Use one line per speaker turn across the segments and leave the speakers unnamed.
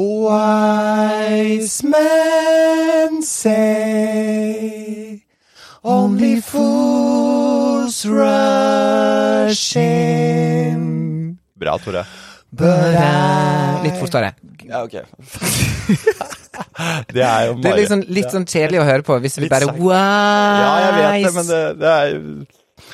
Wise men say only fools rush in,
Bra, Tore.
but I
Litt fortere.
Ja, ok. det er jo
Det er
bare-
liksom, litt sånn kjedelig å høre på hvis vi
Litt
bare
sakte.
wise.
Ja, jeg vet det, men det, det er jo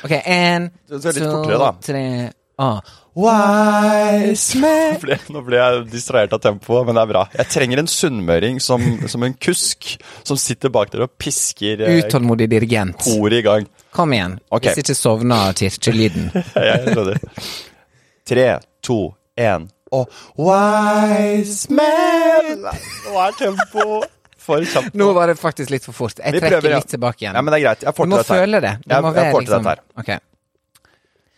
Ok, en,
Det
to,
er litt fortere, da.
tre ah.
Wise men
ble, Nå ble jeg distrahert av tempoet, men det er bra. Jeg trenger en sunnmøring som, som en kusk, som sitter bak der og pisker eh,
Utålmodig dirigent.
koret i gang.
Kom igjen.
Ok.
Hvis ikke sovner kirkelyden.
Jeg skjønner. Tre, to, én.
og wise men
Nå er tempoet for kjapt.
Nå var det faktisk litt for fort. Jeg
Vi
trekker
prøver, ja.
litt tilbake igjen.
Ja, men det er greit. Jeg får til
du må
dette her.
føle det. Du
Jeg-
må
jeg
være
får til
liksom
dette her.
Ok.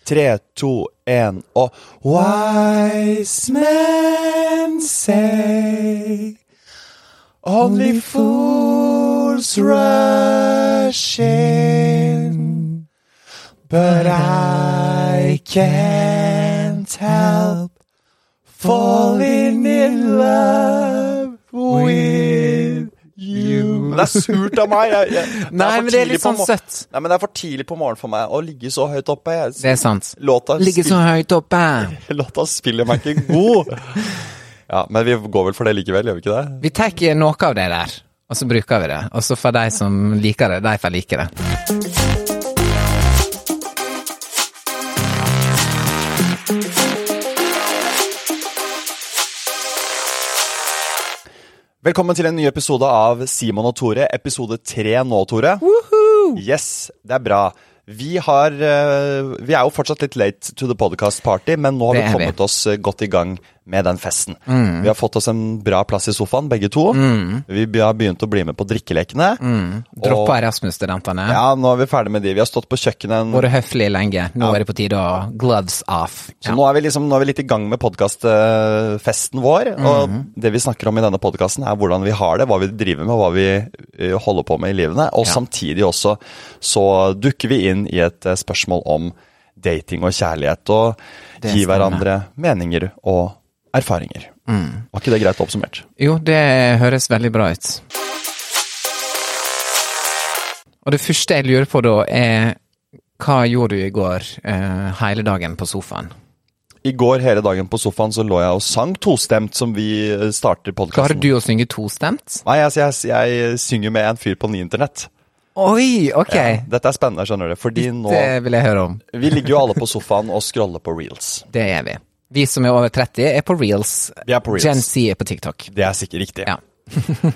Tre, to, én og
Wise men say only fools rush in, but I can't help falling in love with you.
Men det er surt av meg. Jeg, jeg, det
Nei,
for
men det er
tidlig
litt
på
sånn
mor-
søtt.
Nei, men det er for tidlig på morgenen for meg å ligge så høyt oppe.
Det
Jeg,
er sant.
låta,
Ligge så
spil-
høyt oppe.
låta spiller meg ikke god. Ja, Men vi går vel for det likevel, gjør vi ikke det?
Vi tar noe av det der, og så bruker vi det. Og så får de som liker det, de får like det.
Velkommen til en ny episode av Simon og Tore, episode tre nå, Tore. Yes, det er bra. Vi, har, eh, vi er jo fortsatt litt late to the podcast party, men nå har
Det
vi
er vi. Mm.
kommet oss eh, godt i gang med den festen. Vi har fått oss en bra plass i sofaen, begge to. Vi be- har begynt å bli med på drikkelekene.
Mm.
Og,
Droppa Erasmus-studentene.
ja, nå er vi ferdig med de. Vi har stått på kjøkkenet en
Vært høflige lenge. Nå er det på tide å gloves off.
Så nå, er vi liksom, nå er vi litt i gang med podkastfesten vår. Og
Mhm.
det vi snakker om i denne podkasten, er hvordan vi har det, hva vi driver med, hva vi eh, holder på med i livene. Og
Ja.
samtidig også så dukker vi inn i et eh, spørsmål om dating og kjærlighet. Og
Det
gi
stemmer.
hverandre meninger og erfaringer.
Mm.
Var ikke det greit oppsummert?
Jo, det høres veldig bra ut. Og det første jeg lurer på da, er hva gjorde du i går eh, hele dagen på sofaen?
I går hele dagen på sofaen så lå jeg og sang tostemt, som vi eh, starter
Klarer
podkasten.
du å synge tostemt?
Nei, altså, jeg, jeg synger med en fyr på Nyinternett.
Oi, ok! eh,
Dette er spennende, skjønner du. Fordi nå
Det vil jeg høre om.
Vi ligger jo alle på sofaen og scroller på reels.
Det er vi. Vi som er over 30, er på reels.
Vi er på reels.
Gen Z er på TikTok.
Det er sikkert riktig.
Ja.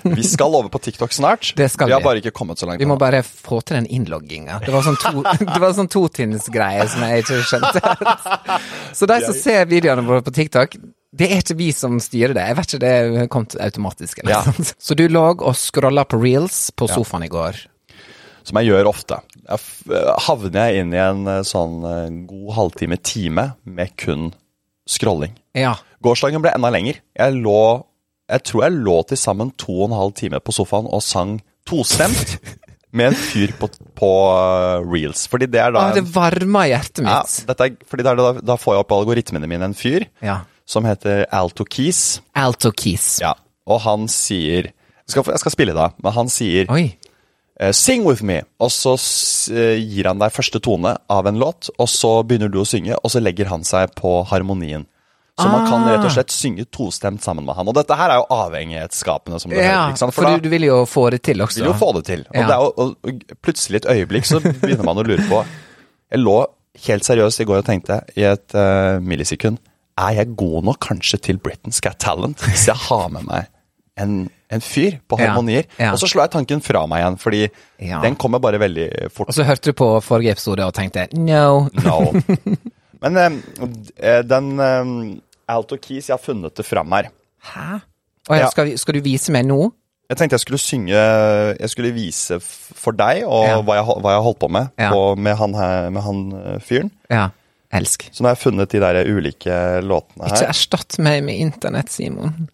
vi skal over på TikTok snart.
Det skal
vi har
vi.
bare ikke kommet så langt.
Vi
nå.
må bare få til den innlogginga. Det var sånn to- det var sånn totrinnsgreie som jeg ikke skjønte. Så de som ser videoene våre på TikTok, det er ikke vi som styrer det. Jeg vet ikke, det kom til automatisk. Eller
Ja.
noe sånt. Så du lå og scrolla på reels på sofaen i går.
Som jeg gjør ofte. Jeg f- eh, havner jeg inn i en eh, sånn eh, god halvtime-time med kun scrolling.
Ja.
Gårsdagen ble enda lenger. Jeg lå Jeg tror jeg lå til sammen to og en halv time på sofaen og sang tostemt med en fyr på, på eh, reels. Fordi det er da
Å, Ah, det
en-
varma hjertet
ja,
mitt.
dette er, fordi det er da, da får jeg opp i algoritmene mine en fyr
Ja.
som heter Alto Keys.
Alto Keys.
Ja, og han sier jeg skal, jeg skal spille da, men han sier
Oi.
eh, 'sing with me', og så s- eh, gir han deg første tone av en låt, og så begynner du å synge, og så legger han seg på harmonien. Så man kan
Ah.
rett og slett synge tostemt sammen med han. Og dette her er jo avhengighetsskapende, som du hører.
Ja,
ikke sant?
for
da
du, du vil jo få det til også.
vil jo få det til. Og,
Ja.
det er jo, og, og plutselig et øyeblikk så begynner man å lure på Jeg lå helt seriøst i går og tenkte i et eh, millisekund Er jeg god nok kanskje til Britain's Got Talent hvis jeg har med meg en, en fyr på
Ja,
harmonier?
ja.
Og så slår jeg tanken fra meg igjen, fordi
Ja.
den kommer bare veldig fort.
Og så hørte du på forrige
Mm.
episode og tenkte no.
No. Men eh, d- eh, den eh, Alt og Keys. Jeg har funnet det fram her.
Hæ? Å, ja,
Ja.
skal, vi- skal du vise meg nå?
Jeg tenkte jeg skulle synge Jeg skulle vise f- for deg og
Ja.
hva, jeg, hol- hva jeg har holdt på med
Ja.
på, med, han her, med han eh, fyren.
Ja. Elsk.
Så nå har jeg funnet de der ulike låtene
Ikke
her.
erstatt meg med internett, Simon.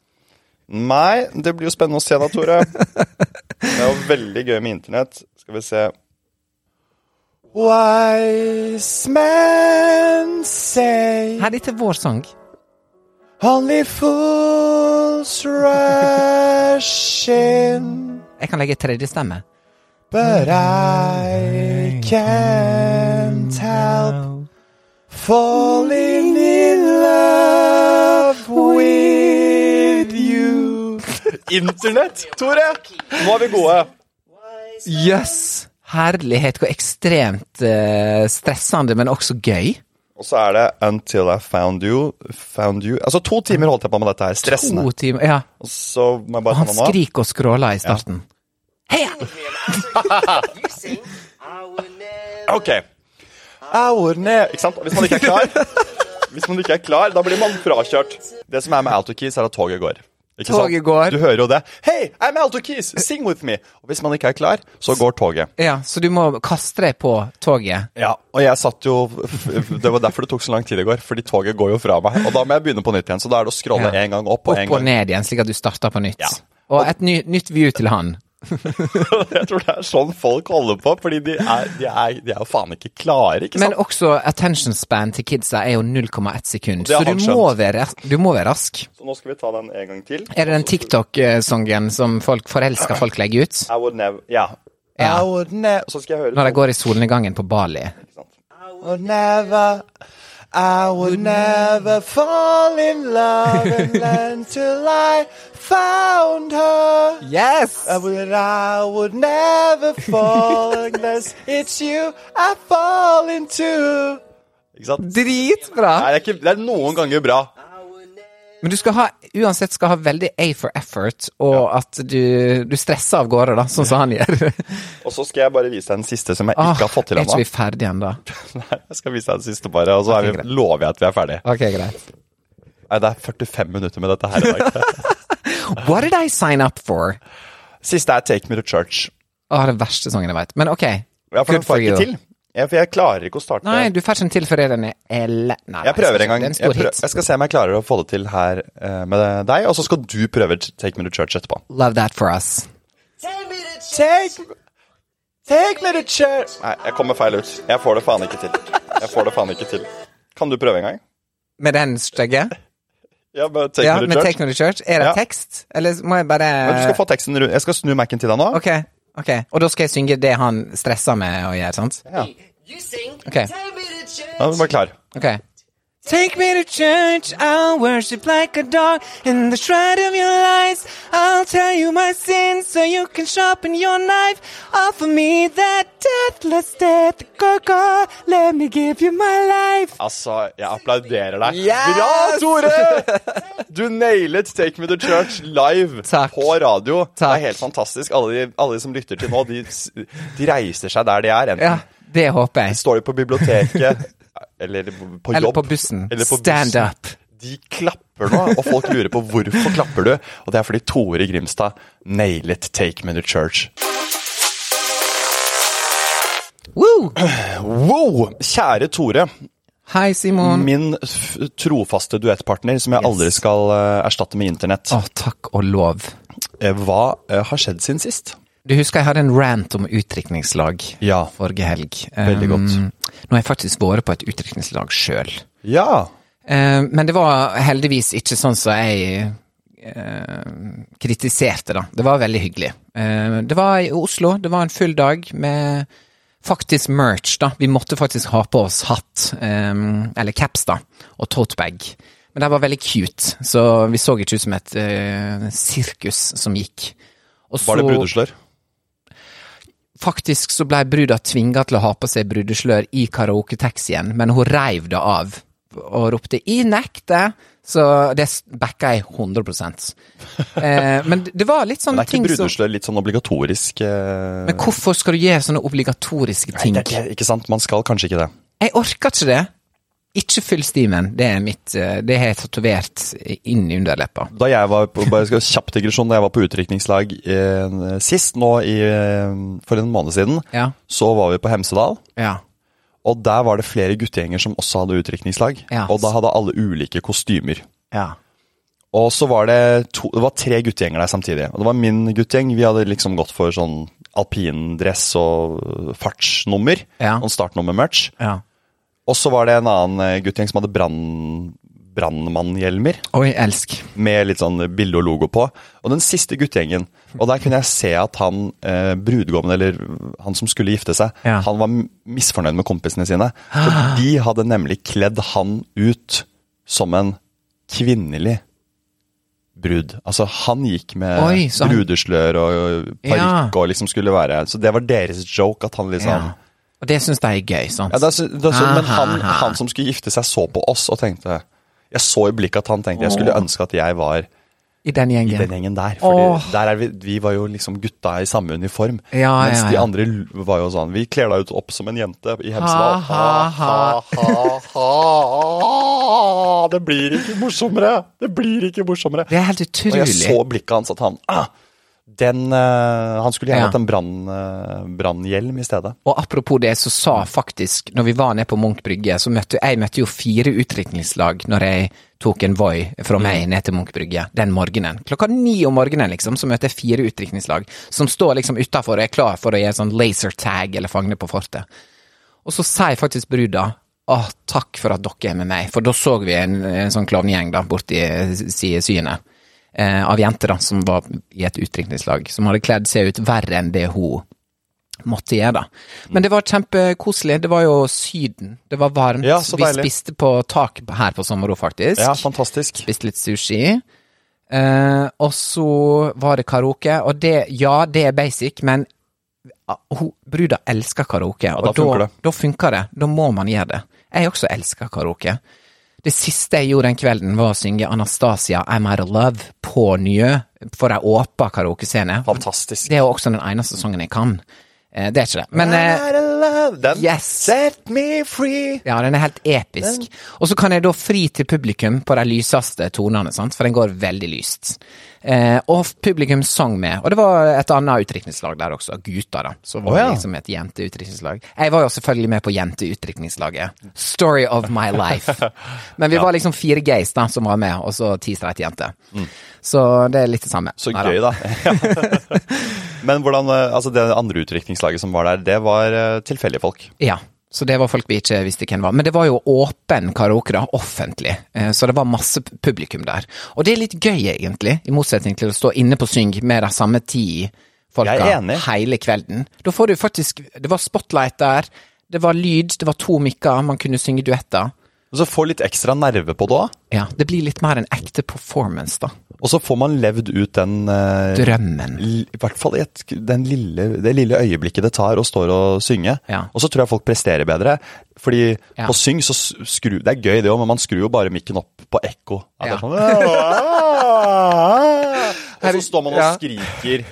Nei, det blir jo spennende å se da, Tore. Det er jo veldig gøy med internett. Skal vi se
Wise men say
Her, dette er vår sang.
only fools rush in,
Jeg kan legge tredjestemme.
but I can't help falling in love with you.
Internett, Tore! Nå er vi gode.
Yes! Herlighet, hvor ekstremt eh, stressende, men også gøy.
Og så er det Until I Found You. Found you. Altså To timer holdt jeg på med dette her. Stressende.
To timer Ja,
Og så må jeg bare
han
ta meg nå.
skriker og skråler i starten. Heia!
Ok. Ikke sant? Og Hvis man ikke er klar, Hvis man ikke er klar, da blir man frakjørt. Det som er med Autokeys, er at toget går. Ikke sant?
Toget går.
Du hører jo det. Hei, I'm Autokeys, sing with me! Og hvis man ikke er klar, så går toget.
Ja, så du må kaste deg på toget.
Ja, og jeg satt jo Det var derfor det tok så lang tid i går, fordi toget går jo fra meg. Og da må jeg begynne på nytt igjen, så da er det å scrolle
Ja.
en gang opp og en
Opp og
gang
ned igjen, slik at du starter på nytt.
Ja.
Og et ny, nytt view til han.
Jeg tror det er sånn folk holder på, fordi de er, de er, de er jo faen ikke klare, ikke sant?
Men også attention span til kidsa er jo 0,1 sekund,
Det
så
har
du
han
må, være, du må være rask.
Så nå skal vi ta den en gang til.
Er det den TikTok-sangen som folk forelska folk legger ut?
I would never Ja.
Ja.
I would never Så skal jeg høre
Når de går i solnedgangen på Bali.
ikke sant?
Would never, I would never fall in love until I found her.
Yes!
I would, I would never fall unless it's you I fall into.
Ikke sant? Nei,
Dritbra!
det er, ikke, det er noen ganger bra.
Men du skal ha, uansett skal ha veldig A for effort, og at du, du stresser av gårde, da, sånn som han gjør.
Og så skal jeg bare vise deg den siste som jeg
Ah,
ikke har fått til
er ikke
ennå.
vi ferdige ennå?
Nei, Jeg skal vise deg den siste bare, og så er
Ok,
vi,
greit.
lover jeg at vi er ferdig.
Ok, greit.
Nei, det er 45 minutter med dette her i dag.
What did I sign up for?
Siste er Take Me To Church.
Å, den verste sangen jeg veit. Men ok.
Ja, for den får jeg ikke til. Jeg, for jeg klarer ikke å starte.
Nei, du får ikke den til før den er L... Nei, nei,
jeg prøver
skal
en gang. Jeg,
ikke. Det er en stor
prøver,
hit.
jeg skal se om jeg klarer å få det til her eh, med deg, og så skal du prøve Take Me To Church etterpå.
Love that for us.
Take, take me to church.
Nei, jeg kommer feil ut. Jeg får det faen ikke til. Jeg får det faen ikke til. Kan du prøve en gang?
Med den stygge?
Ja, med Take
Ja,
Me
med
To
Take
Church.
Me To Church? Er det
Ja.
tekst? Eller må jeg bare
Men du skal få teksten rundt. Jeg skal snu Mac-en til deg nå.
Ok, ok. Og da skal jeg synge det han stresser med å gjøre, sant?
You sing.
Okay.
Take me to church.
Nå er du bare klar.
Ok. Take me to church, I'll worship like a dog In the shroud of your lies, I'll tell you my sins So you can sharpen your knife Offer me that deathless death Go, go, let me give you my life
Altså, jeg applauderer deg.
Yes!
Bra, Tore! Du nailet Take Me To Church live
Takk.
på radio. Det
Takk.
er helt fantastisk. Alle de, alle de som lytter til nå, de, s- de reiser seg der de er. Enten
Ja, det håper jeg
står de på biblioteket, eller på jobb.
Eller på bussen
eller på
Stand
bussen.
up
De klapper nå, og folk lurer på hvorfor klapper du. Og det er fordi Tore Grimstad nailet Take Me To Church.
Woo!
Wow! Kjære Tore.
Hei Simon Åh,
Min f trofaste duettpartner som jeg aldri skal eh, erstatte med internett.
takk og lov
Eh, Hva eh, har skjedd siden sist?
Du husker jeg hadde en rant om utdrikningslag
Ja.
forrige helg.
Veldig godt.
Um, Nå har jeg faktisk vært på et utdrikningslag sjøl. Um,
Ja.
men det var heldigvis ikke sånn som jeg eh, kritiserte, da. Det var veldig hyggelig. Eh, det var i Oslo. Det var en full dag med faktisk merch, da. Vi måtte faktisk ha på oss hatt, eh, eller caps, da, og totebag. Men det var veldig cute, så vi så ikke ut som et eh, sirkus som gikk. Og
Var det
så-
brudeslør?
Faktisk så blei bruda tvinga til å ha på seg brudeslør i karaoketaxien, men hun reiv det av og ropte 'i nekte', så det s- backa jeg 100 eh, Men det var litt
Men
sånne
er ikke
ting som
brudeslør litt sånn obligatorisk eh,
Men hvorfor skal du gjøre sånne obligatoriske ting?
det er det, Ikke sant? Man skal kanskje ikke det.
Jeg orker ikke det. Ikke fyll stimen. Det er mitt eh, Det har jeg tatovert inn i underleppa.
Da jeg var på, bare skal kjapp digresjon, da jeg var på utdrikningslag eh, sist, nå i, eh, for en måned siden,
Ja.
så var vi på Hemsedal.
Ja.
Og der var det flere guttegjenger som også hadde utdrikningslag.
Ja.
Og da hadde alle ulike kostymer.
ja.
Og så var det, to, det var tre guttegjenger der samtidig. Og det var min guttegjeng. Vi hadde liksom gått for sånn alpindress og fartsnummer.
Ja.
Og startnummer-merch.
ja.
Og så var det en annen eh, guttegjeng som hadde brann, brannmannhjelmer.
Oi, elsk.
Med litt sånn bilde og logo på. Og den siste guttegjengen. Og der kunne jeg se at han eh, brudgommen, eller han som skulle gifte seg,
Ja.
han var m- misfornøyd med kompisene sine. For de hadde nemlig kledd han ut som en kvinnelig brud. Altså, han gikk med
Oi, så han-
brudeslør og, og parykk
Ja.
og liksom skulle være Så det var deres joke at han liksom
Ja.
ja.
Og det syns de er gøy, sant?
det er, så- det er, så- Men han,
Aha.
han som skulle gifte seg, så på oss og tenkte Jeg så i blikket at han tenkte jeg skulle ønske at jeg var
I den
i
gjengen.
den gjengen der. Fordi
Åh.
der er vi, vi var jo liksom gutta i samme uniform.
Ja,
mens
ja,
de
ja.
andre l- var jo sånn Vi kler deg ut opp som en jente i
Ha,
Hemsedal.
ha, ha.
Ah, det blir ikke morsommere! Det blir ikke morsommere.
Det er helt
Og jeg
utrolig.
så blikket hans at han ah, den, eh, Han skulle gjerne
Ja.
hatt en brann, eh, brannhjelm i stedet.
Og apropos det, så sa faktisk, når vi var nede på Munch brygge, så møtte jeg møtte jo fire utdrikningslag når jeg tok en Voi fra meg ned til Munch brygge den morgenen. Klokka ni om morgenen, liksom, så møtte jeg fire utdrikningslag som står liksom utafor og er klar for å gjøre sånn laser tag eller fagne på fortet. Og så sier faktisk bruda Åh, takk for at dere er med meg, for da så vi en, en sånn klovnegjeng da, borti syene. Eh, av jenter da, som var i et utdrikningslag, som hadde kledd seg ut verre enn det hun måtte gjøre da. Men det var kjempekoselig. Det var jo Syden. Det var varmt.
Ja, så
Vi
deilig.
spiste på tak her på Sommero, faktisk.
Ja, fantastisk.
Spiste litt sushi. Eh, og så var det karaoke. Og det, ja, det er basic, men ah, hun, bruda elsker karaoke.
da
og
funker
da,
det.
da funker det. Da må man gjøre det. Jeg også elsker karaoke. Det siste jeg gjorde den kvelden, var å synge Anastasia I'm Out of Love på Njø, for ei åpen karaokescene.
Fantastisk.
Det er eh, jo også den eneste sangen jeg kan. Eh, det er ikke det. Men eh,
I love them.
Yes.
Set me free.
ja, den er helt episk. Og så kan jeg da fri til publikum på de lyseste tonene, sant? for den går veldig lyst. Eh, og f- publikum sang med. Og det var et annet utdrikningslag der også, gutter, da. Så var
Å, ja.
det liksom et jenteutdrikningslag. Jeg var jo selvfølgelig med på jenteutdrikningslaget. Story of my life. Men vi var liksom fire gays da, som var med, og så ti streit jenter. Så det er litt det samme.
Mm. Så
Neida.
gøy, da. Men hvordan, eh, altså det andre utdrikningslaget som var der, det var eh, tilfeldige folk.
Ja, så det var folk vi ikke visste hvem var. Men det var jo åpen karaoke, da, offentlig, Eh, så det var masse p- publikum der. Og det er litt gøy, egentlig, i motsetning til å stå inne på Syng med de samme ti
Jeg er
folka
enig.
hele kvelden. Da får du faktisk Det var spotlight der, det var lyd, det var to mikker, man kunne synge duetter.
Og så få litt ekstra nerve på det òg.
Ja, det blir litt mer en ekte performance, da.
Og så får man levd ut den eh,
Drømmen.
l- I hvert fall i et, den lille, det lille øyeblikket det tar å stå og synge.
Ja.
Og så tror jeg folk presterer bedre. Fordi
Ja.
på syng så s- skru Det er gøy det òg, men man skrur jo bare mikken opp på ekko. Ja, det
Ja.
er sånn, og så står man og
Ja.
skriker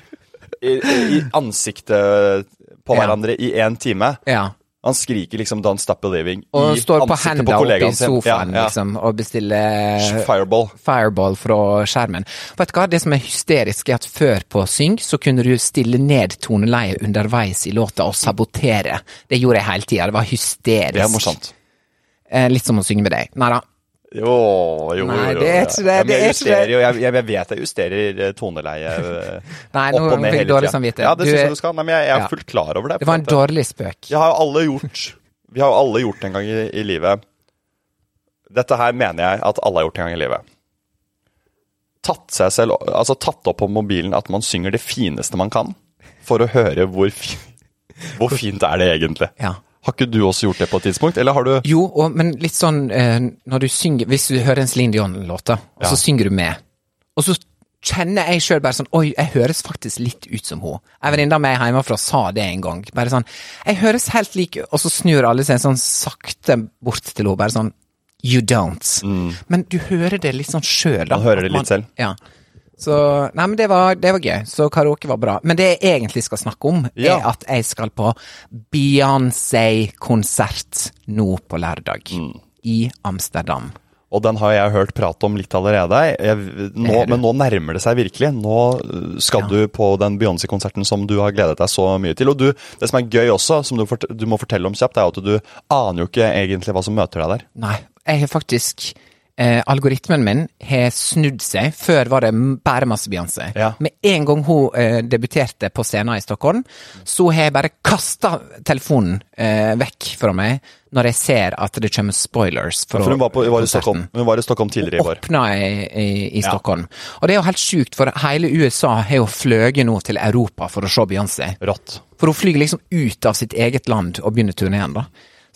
i, i ansiktet på
Ja.
hverandre i én time.
Ja.
Han skriker liksom 'Don't Stop Believing'
Og
i
står på
ansiktet
henda oppe i
kollegaen sin.
sofaen,
Ja, ja.
liksom, og bestiller
Fireball.
fireball fra skjermen. Vet du hva, det som er hysterisk er at før på Syng så kunne du stille ned toneleiet underveis i låta og sabotere. Det gjorde jeg hele tida, det var hysterisk.
Det er morsomt.
Eh, litt som å synge med deg. Nei da.
Jo, jo, jo.
Nei,
jo,
det er
ja.
ikke det,
Ja, men
det er
jeg
ikke
justerer
det.
jo, jeg, jeg vet jeg justerer eh, toneleie eh,
Nei,
opp
nå
og ned
fikk jeg
hele
dårlig
tiden.
samvittighet.
Ja, det
Du
syns
er-
jeg du skal. Nei, men jeg, jeg
Ja.
er fullt klar over det.
Det var en
for at
dårlig spøk.
Jeg har jo alle gjort Vi har jo alle gjort en gang i, i livet Dette her mener jeg at alle har gjort en gang i livet. Tatt seg selv Altså tatt opp på mobilen at man synger det fineste man kan, for å høre hvor, fi, hvor fint er det egentlig.
Ja.
Har ikke du også gjort det på et tidspunkt, eller har du
Jo, og, men litt sånn eh, når du synger Hvis du hører en Celine Dion-låt, da, og så synger du med, og så kjenner jeg sjøl bare sånn Oi, jeg høres faktisk litt ut som hun. Ei venninne av meg hjemmefra sa det en gang. Bare sånn Jeg høres helt lik ut, og så snur alle seg sånn sakte bort til henne, bare sånn You don't. Men du hører det litt sånn sjøl,
Mm.
da.
Man hører
at
det litt selv.
Ja. Så Nei, men det var, det var gøy. Så karaoke var bra. Men det jeg egentlig skal snakke om,
Ja.
er at
Mm.
jeg skal på Beyoncé-konsert nå på lørdag. i Amsterdam.
Og den har jeg hørt prat om litt allerede. Jeg, nå, men nå nærmer det seg virkelig. Nå øh, skal du på den Beyoncé-konserten som du har gledet deg så mye til. Og du, det som er gøy også, som du, fort, du må fortelle om kjapt, er jo at du aner jo ikke egentlig hva som møter deg der.
Nei, jeg har faktisk eh, Algoritmen min har snudd seg. Før var det m- bare masse Beyoncé.
Ja.
Med en gang hun eh, debuterte på scenen i Stockholm, så har jeg bare kasta telefonen eh, vekk fra meg når jeg ser at det kommer spoilers.
For hun var, på, hun var, i,
konserten.
Stockholm, hun var i Stockholm tidligere i vår.
Åpna i, i, i Stockholm. Og det er jo helt sjukt, for hele USA har jo fløyet nå til Europa for å se Beyoncé.
Rått.
For hun flyr liksom ut av sitt eget land og begynner turneen, da.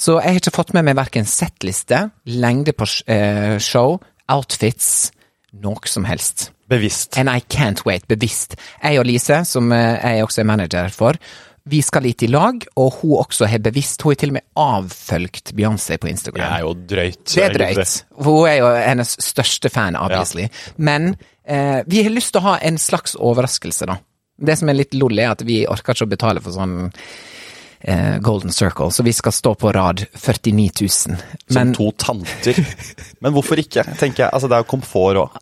Så jeg har ikke fått med meg verken settliste, lengde på sh- eh, show, outfits, noe som helst.
Bevisst.
And I can't wait, bevisst. Jeg og Lise, som eh, jeg også er manager for, vi skal litt i lag, og hun også har bevisst Hun har til og med avfølgt Beyoncé på Instagram.
Det er jo drøyt.
Det er drøyt. For hun er jo hennes største fan, obviously. Men eh, vi har lyst til å ha en slags overraskelse, da. Det som er litt lol, er at vi orker ikke å betale for sånn eh, Golden Circle, så vi skal stå på rad 49 000.
Som
Men
to tanter. Men hvorfor ikke? tenker jeg. Altså, det er jo komfort òg.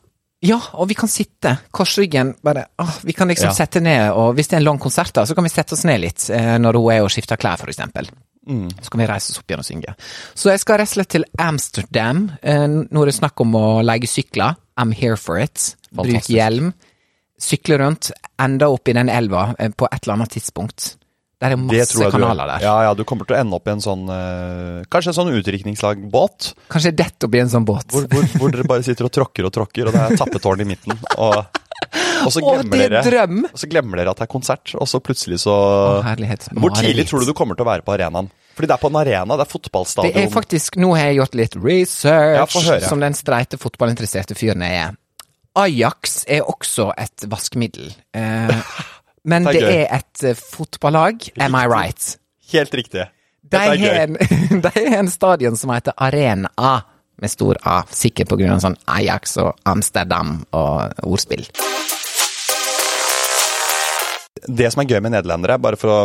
ja, og vi kan sitte korsryggen bare ah, Vi kan liksom
Ja.
sette ned, og hvis det er en lang konsert, da, så kan vi sette oss ned litt eh, når hun er og skifter klær, for eksempel.
Mm.
Så kan vi reise oss opp igjen og synge. Så jeg skal rett og slett til Amsterdam. Eh, nå er det snakk om å leie sykler. I'm here for it. Bruk
Fantastisk.
hjelm. Sykle rundt. Enda opp i den elva eh, på et eller annet tidspunkt. Der
Det
er
tror
masse
jeg du
kanaler der.
Ja, ja, du kommer til å ende opp i en sånn eh, Kanskje en sånn utrykningslagbåt.
Kanskje jeg detter oppi en sånn båt.
Hvor, hvor, hvor dere bare sitter og tråkker og tråkker, og det er tappetårn i midten. Og, og, så
Å, det
glemmer
er
dere,
drøm!
og så glemmer dere at det er konsert, og så plutselig så
Å, herlighet.
Hvor tidlig
Mareritt.
tror du du kommer til å være på arenaen? Fordi det er på en arena, det er
Det
fotballstadion.
er faktisk, nå har jeg gjort litt
Ja,
research,
få høre.
som den streite fotballinteresserte fyren jeg er. Ajax er også et vaskemiddel. Eh, men
Det
det
er
er
gøy.
et eh, fotballag, am I right?
Helt riktig.
De
Dette er
har
gøy.
en, de har en stadion som heter Arena A, med stor A. Sikkert på grunn av sånn Ajax og Amsterdam og ordspill.
Det som er gøy med nederlendere, bare for å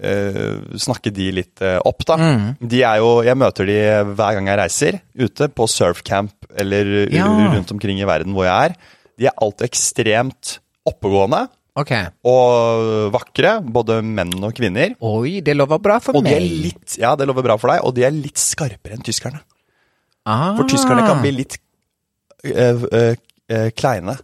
eh, snakke de litt eh, opp, da.
Mm.
De er jo, jeg møter de hver gang jeg reiser ute på surfcamp eller u-
Ja.
rundt omkring i verden hvor jeg er. De er alltid ekstremt oppegående
Ok.
og vakre, både menn og kvinner.
Oi, det lover bra for
Og de
meg.
er litt, ja, det lover bra for deg, og de er litt skarpere enn tyskerne.
ah,
For tyskerne kan bli litt eh, eh, eh, kleine.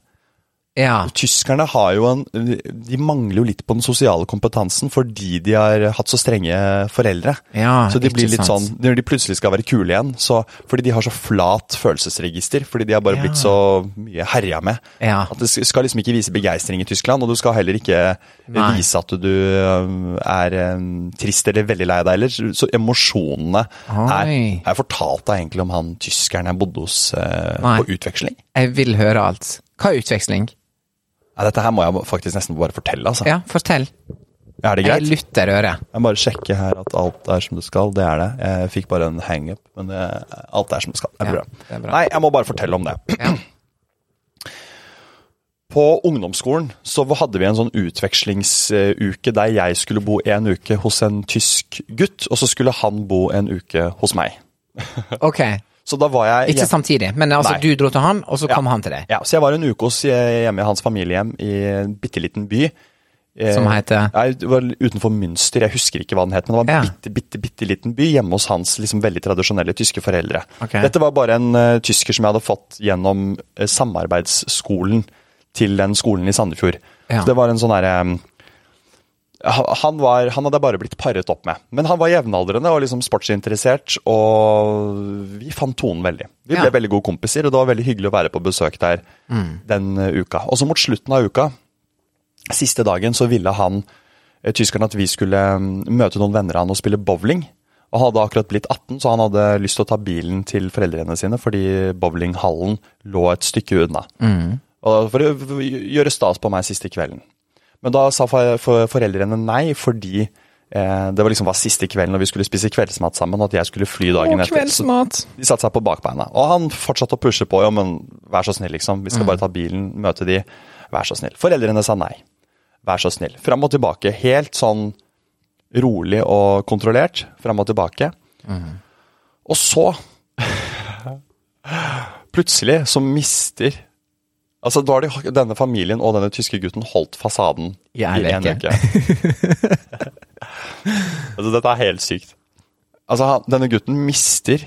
Ja.
Tyskerne har jo en De mangler jo litt på den sosiale kompetansen fordi de har hatt så strenge foreldre.
Ja,
så de
ikke
blir litt
sant.
sånn Når de plutselig skal være kule igjen, så Fordi de har så flat følelsesregister. Fordi de har bare
Ja.
blitt så mye herja med.
Ja.
At det skal liksom ikke vise begeistring i Tyskland, og du skal heller ikke
Nei.
vise at du øhm, er øhm, trist eller veldig lei deg heller. Så emosjonene er
Oi.
Jeg fortalte deg egentlig om han tyskeren jeg bodde hos øh,
Nei.
på utveksling.
Jeg vil høre alt. Hva er utveksling?
Ja, dette her må jeg faktisk nesten bare fortelle, altså.
Ja, fortell.
Er det
Jeg
greit?
lytter øret.
Jeg bare sjekker her at alt er som det skal. Det er det. Jeg fikk bare en hangup, men det, alt er som det skal. Det er,
Ja,
bra.
det er bra.
Nei, jeg må bare fortelle om det.
Ja.
På ungdomsskolen så hadde vi en sånn utvekslingsuke der jeg skulle bo en uke hos en tysk gutt, og så skulle han bo en uke hos meg.
Ok,
Så da var jeg
ikke
hjemme-
samtidig, men altså,
Nei.
du dro til han, og så kom han til deg,
Ja, så jeg var en uke hos eh, hjemme i hans familiehjem i en bitte liten by. Eh,
som heter
Nei, det var utenfor Münster, jeg husker ikke hva den het, men det var en
Ja.
bitte, bitte, bitte liten by hjemme hos hans liksom veldig tradisjonelle tyske foreldre.
Ok.
Dette var bare en eh, tysker som jeg hadde fått gjennom eh, samarbeidsskolen til den skolen i Sandefjord.
Ja.
Så det var en sånn herre han, var, han hadde jeg bare blitt paret opp med. Men han var jevnaldrende og liksom sportsinteressert, og vi fant tonen veldig. Vi
Ja. Mm.
ble veldig gode kompiser, og det var veldig hyggelig å være på besøk der den eh, uka. Og så mot slutten av uka, siste dagen, så ville han, eh, tyskeren, at vi skulle mm, møte noen venner av han og spille bowling. Og han hadde akkurat blitt 18, så han hadde lyst til å ta bilen til foreldrene sine, fordi bowlinghallen lå et stykke unna. Og for å for å gjøre stas på meg siste kvelden. Men da sa for, for, foreldrene nei, fordi eh, det var liksom var siste kvelden, og vi skulle spise kveldsmat sammen, og at jeg skulle fly dagen etter. Så
kveldsmat.
de satte seg på bakbeina. Og han fortsatte å pushe på. Ja, men vær så snill, liksom. Vi skal bare ta bilen, møte de. Vær så snill. Foreldrene sa nei. Vær så snill. Fram og tilbake. Helt sånn rolig og kontrollert. Fram og tilbake. Og så Plutselig så mister Altså, da har de, denne familien og denne tyske gutten holdt fasaden
I en uke.
altså, dette er helt sykt. Altså, han, denne gutten mister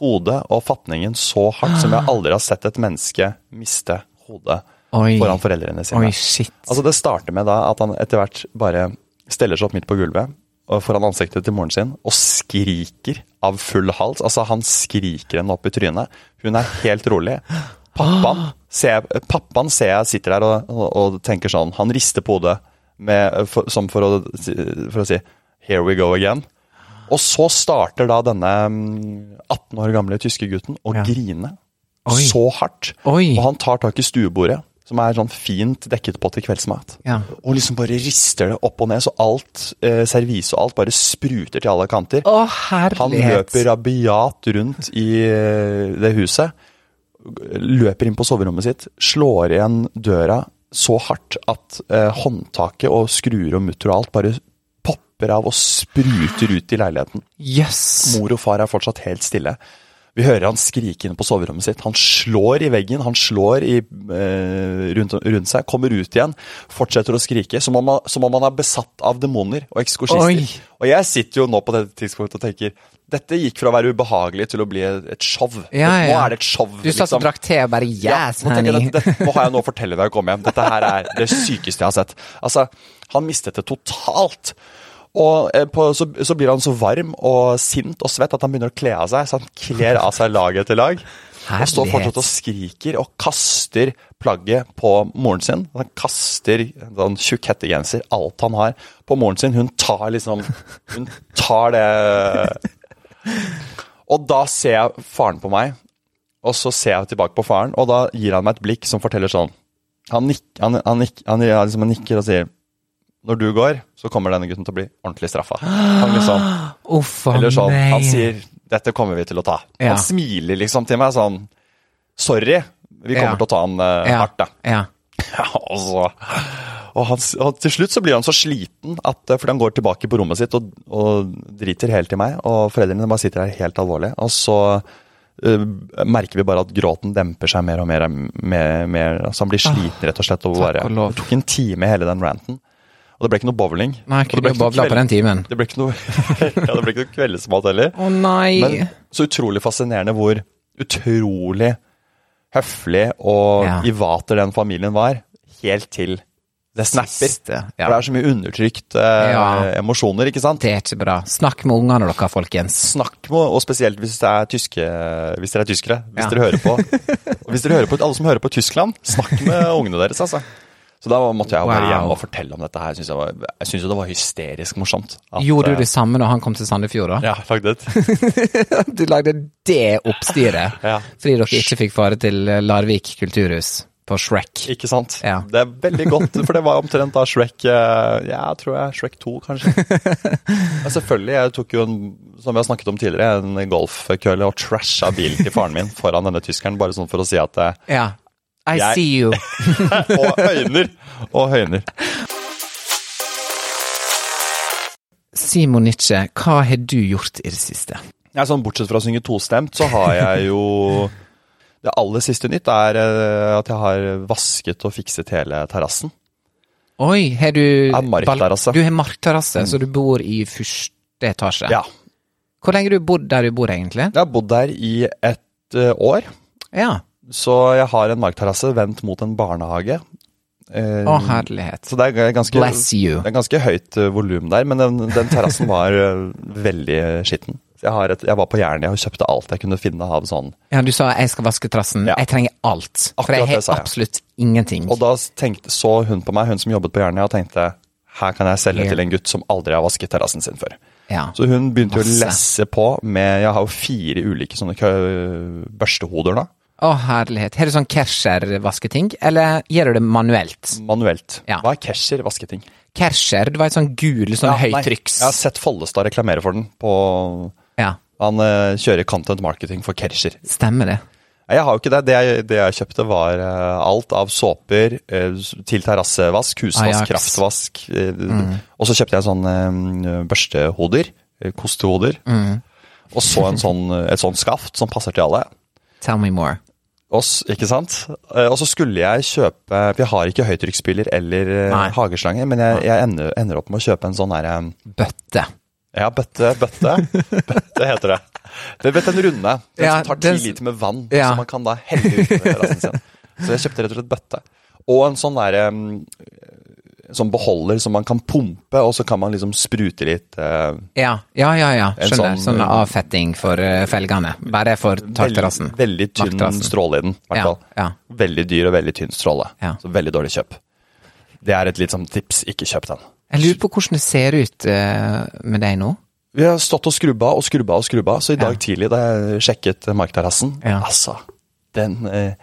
hodet og fatningen så hardt som jeg aldri har sett et menneske miste hodet
Oi.
foran foreldrene sine.
Oi, shit.
Altså Det starter med da at han etter hvert bare steller seg opp midt på gulvet og foran ansiktet til moren sin og skriker av full hals. Altså Han skriker henne opp i trynet. Hun er helt rolig. Pappaen ser jeg, pappaen ser jeg sitter der og, og, og tenker sånn Han rister på hodet med, for, som for å, si- for å si 'here we go again'. Og så starter da denne mm, 18 år gamle tyske gutten å grine
Oi.
så hardt.
Oi.
Og han tar tak i stuebordet, som er sånn fint dekket på til kveldsmat.
Ja.
Og liksom bare rister det opp og ned, så alt, eh, servise og alt, bare spruter til alle kanter.
Å,
han
herlighet.
løper rabiat rundt i eh, det huset. Løper inn på soverommet sitt, slår igjen døra så hardt at eh, håndtaket og skruer og mutter og alt bare popper av og spruter ut i leiligheten.
Jøss.
Mor og far er fortsatt helt stille. Vi hører han skrike inne på soverommet sitt. Han slår i veggen, han slår i, eh, rundt, rundt seg, kommer ut igjen, fortsetter å skrike. Som om, han- som om han er besatt av demoner og
Oi.
ekskorsister. Og jeg sitter jo nå på dette tidspunktet og tenker dette gikk fra å være ubehagelig til å bli et et show.
Ja, ja.
Nå er det et show. liksom.
Du satt og drakk te og bare Yes,
nå, tenker jeg,
honey.
dette, dette, nå har jeg noe å fortelle deg å komme hjem. Dette her er det sykeste jeg har sett. Altså, han mistet det totalt. Og eh, på, så, så blir han så varm og sint og svett at han begynner å kle av seg. Så han kler av seg lag etter lag. Og står fortsatt og skriker og kaster plagget på moren sin. Han kaster en sånn tjukk hettegenser, alt han har, på moren sin. Hun tar liksom Hun tar det Og da ser jeg faren på meg, og så ser jeg tilbake på faren, og da gir han meg et blikk som forteller sånn Han, nikk, han, han, nikk, han, ja, liksom, han nikker og sier Når du går, så kommer denne gutten til å bli ordentlig straffa. Han liksom,
Uff a
eller sånn,
meg.
han sier 'dette kommer vi til å ta'.
Ja.
Han smiler liksom til meg sånn 'sorry, vi kommer
Ja.
til å ta han eh,
ja.
hardt', da.
Ja.
og, så, altså. og, han, s- og til slutt så blir han så sliten at, eh, fordi han går tilbake på rommet sitt og, og driter helt i meg, og foreldrene bare sitter der helt alvorlig. Og så eh, merker vi bare at gråten demper seg mer og mer. mer, mer altså han blir sliten rett og slett. Og
Ah. takk
bare,
og lov.
det tok en time hele den ranten. Og det ble ikke noe bowling.
Nei, jeg
og det ble
kunne jo
ikke noe
babla på
kveld-
den timen.
det ble ikke noe, ja, det ble ikke noe kveldsmat heller.
Å nei.
Men så utrolig fascinerende hvor utrolig høflig og
Ja.
i vater den familien var, helt til det snapper.
Siste, ja.
For det er så mye undertrykt eh,
Ja.
emosjoner, ikke sant?
Det er ikke bra. Snakk med ungene dere, folkens.
Snakk med, og spesielt hvis det er tyske, hvis dere er tyskere, hvis
Ja.
dere hører på. Og hvis dere hører på, alle som hører på Tyskland, snakk med ungene deres, altså. Så da måtte jeg jo bare
Wow.
hjem og fortelle om dette her. Jeg synes det var- Jeg syns jo det var hysterisk morsomt. at,
Gjorde
eh,
du det samme når han kom til Sandefjord, da?
Ja, faktisk.
Du lagde det oppstyret
Ja.
fordi dere ikke fikk fare til Larvik kulturhus på Shrek.
Ikke sant?
Ja.
Det er veldig godt, for det var omtrent da Shrek eh, Ja, tror jeg Shrek 2, kanskje. Men selvfølgelig, jeg tok jo en, som vi har snakket om tidligere, en golfkølle og trasha bilen til faren min foran denne tyskeren, bare sånn for å si at eh,
Ja. I
Jeg-
see you.
Og høyner! Og høyner.
Simon Nietzsche, hva har du gjort i det siste?
Ja, sånn bortsett fra å synge tostemt, så har jeg jo Det aller siste nytt er eh, at jeg har vasket og fikset hele terrassen.
Oi, har du
har markterrasse.
bal- Du har markterrasse, så du bor i første etasje.
Ja.
Hvor lenge har du bodd der du bor, egentlig?
Jeg har bodd der i et eh, år.
Ja.
Så jeg har en markterrasse vendt mot en barnehage. Eh,
Å, herlighet.
så det er ganske,
Bless you.
det er ganske høyt eh, volum der, men den, den terrassen var eh, veldig skitten. Så jeg, har et, jeg var på Jernia og kjøpte alt jeg kunne finne av sånn.
Ja, du sa jeg skal vaske terrassen.
Ja.
Jeg trenger alt. For
Akkurat
jeg
det sa
har
jeg.
absolutt ingenting.
Og da tenkte, så hun på meg, hun som jobbet på Jernia, og tenkte her kan jeg selge
Ja.
til en gutt som aldri har vasket terrassen sin før.
Ja.
Så hun begynte jo å
Masse.
lesse på med Jeg har jo fire ulike sånne kø- børstehoder da,
Å, herlighet. Har du sånn Kerscher-vasketing, eller gjør du det manuelt?
manuelt.
Ja.
Hva er Kesher vasketing?
Kerscher, du vet sånn gul, sånn
Ja, nei,
høytrykks...
Jeg har sett Follestad reklamere for den på
Ja,
Han eh, kjører content marketing for Kerscher.
stemmer det.
Nei, Jeg har jo ikke det. Det jeg, det jeg kjøpte, var eh, alt av såper eh, s- til terrassevask, husvask,
Ajax. Mm.
kraftvask. eh, Og så kjøpte jeg sånn eh,
Mm.
eh, børstehoder, eh, kostehoder. Og så en sånn, et sånt skaft som passer til alle.
Tell me more.
oss, ikke sant? Eh, Og så skulle jeg kjøpe Vi har ikke høytrykksspyler eller eh,
Nei.
hageslange, men jeg, jeg ender, ender opp med å kjøpe en sånn her eh,
Bøtte.
Ja, bøtte, bøtte. bøtte heter det. Det er en runde. Den
Ja,
som tar ti
den s-
liter med vann,
Ja.
som man kan da helle ut på terrassen sin. Så jeg kjøpte rett og slett bøtte. Og en sånn der em, sånn beholder som man kan pumpe, og så kan man liksom sprute litt. eh,
Ja, ja, ja. ja.
En
Skjønner.
sånn-
Sånn avfetting for eh, felgene. Bare for takterrassen.
Veldig, veldig tynn
Takterrassen.
stråle i den, i hvert
Ja,
fall.
ja.
Veldig dyr og veldig tynn stråle.
Ja.
Så veldig dårlig kjøp. Det er et litt sånn tips, ikke kjøp den.
Jeg lurer på hvordan det ser ut eh, med deg nå.
Vi har stått og skrubba og skrubba og skrubba, så i dag tidlig da jeg sjekket markterrassen
Ja.
Altså, den eh,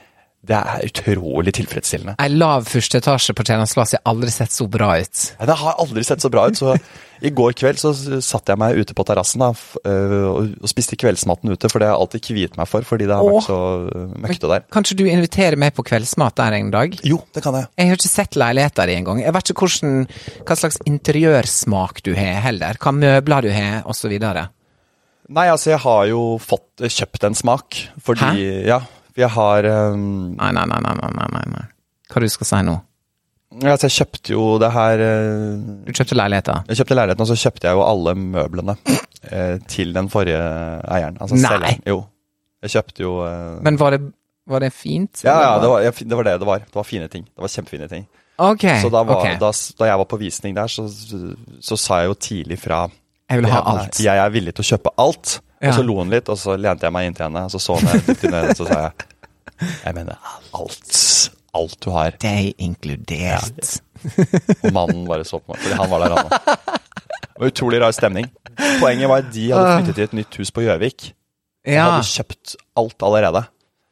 Det er utrolig tilfredsstillende.
Ei lav første etasje på Tjenerens plass har aldri sett så bra ut.
Nei, Det har aldri sett så bra ut, så i går kveld så s- satte jeg meg ute på terrassen da, f- eh, og og spiste kveldsmaten ute, for det har jeg alltid kviet meg for, fordi det har
Åh.
vært så eh, møkkete der.
Kanskje du inviterer meg på kveldsmat der en dag?
Jo, det kan jeg.
Jeg har ikke sett leiligheta di engang. Jeg vet ikke hvordan, hva slags interiørsmak du har heller. Hva møbler du har, osv.
Nei, altså jeg har jo fått, eh, kjøpt en smak, fordi Ja, jeg har ehm,
Nei, nei, nei, nei, nei, nei, nei, nei. Hva du skal si nå?
Altså jeg kjøpte jo det her eh,
Du kjøpte leiligheta?
Jeg kjøpte leiligheten, og så kjøpte jeg jo alle møblene eh, til den forrige eieren. Altså
Nei.
selgeren. Jo. Jeg kjøpte jo eh,
Men var det, var det fint?
ja, ja, det var, jeg, det var det det var. Det var fine ting. Det var Kjempefine ting.
Ok.
Så da, var,
Eh, ok.
da, s- da jeg var på visning der, så, så sa jeg jo tidlig fra
jeg vil ha alt.
Jeg er villig til å kjøpe alt.
Ja.
Og så lo hun litt, og så lente jeg meg inntil henne, og så så hun meg dypt inn i øynene, og så sa jeg Jeg mener alt. Alt du har.
Deg inkludert.
Og mannen bare så på meg, fordi han var der, han òg. Det var Utrolig rar stemning. Poenget var at de hadde flyttet til et nytt hus på Gjøvik. De
Ja.
hadde kjøpt alt allerede.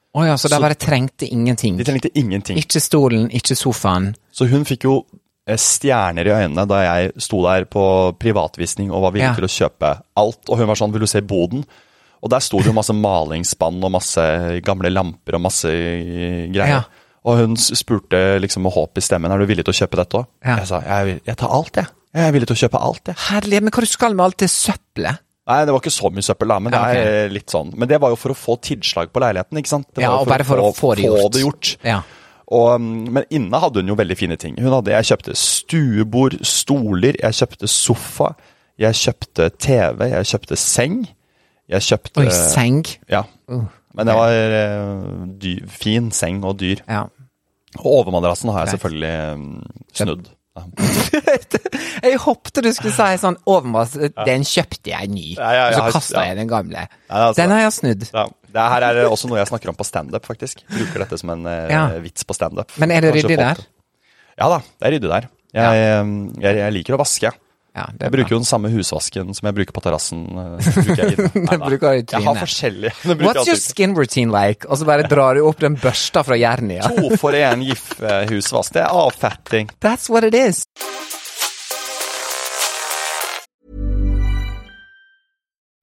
Å ja, så da bare trengte ingenting.
De trengte ingenting.
Ikke stolen, ikke sofaen.
Så hun fikk jo eh, stjerner i øynene da jeg sto der på privatvisning og var villig
Ja.
til å kjøpe alt. Og hun var sånn, vil du se boden? Og der sto det jo masse malingsspann og masse gamle lamper og masse eh,
Ja.
greier. Og hun s- spurte liksom med håp i stemmen, er du villig til å kjøpe dette òg?
Ja.
Jeg sa, jeg, er vill- jeg tar alt, jeg. Jeg er villig til å kjøpe alt, jeg.
Herlighet, men hva du skal med alt det søppelet?
Nei, det var ikke så mye søppel, da, men det
Ja, ok.
er eh, litt sånn. Men det var jo for å få tilslag på leiligheten, ikke sant? Det
Ja,
var jo
og bare for å få det gjort. Ja.
Og, mm, men inne hadde hun jo veldig fine ting. Hun hadde, jeg kjøpte stuebord, stoler, jeg kjøpte sofa, jeg kjøpte TV, jeg kjøpte seng. Jeg kjøpte
Oi, seng. Uh,
Ja. Men det var eh, dy- fin seng og dyr.
Ja.
Og overmadrassen har jeg selvfølgelig mm, snudd. Ja.
Jeg håpte du skulle si sånn overmass, den kjøpte jeg ny,
Ja, ja, ja,
og så kasta
ja.
jeg den gamle.
altså-
Den har jeg snudd.
Ja, det her er også noe jeg snakker om på standup, faktisk. Bruker dette som en eh,
Ja.
vits på standup.
Men er det
Kanskje
ryddig
folk-
der?
Ja da, det er ryddig der. Jeg, eh, jeg, jeg liker å vaske.
Ja,
Jeg
det er bra.
bruker jo den samme husvasken som jeg bruker på terrassen. eh, bruker jeg inne. Nei, nei.
bruker du i
Jeg har
trynet.
forskjellige. Den bruker
What's
jeg
your
alltid.
skin routine like? Og så bare drar du opp den børsta fra Jernia.
To for én GIF-husvask. Det er avfetting.
That's what it is.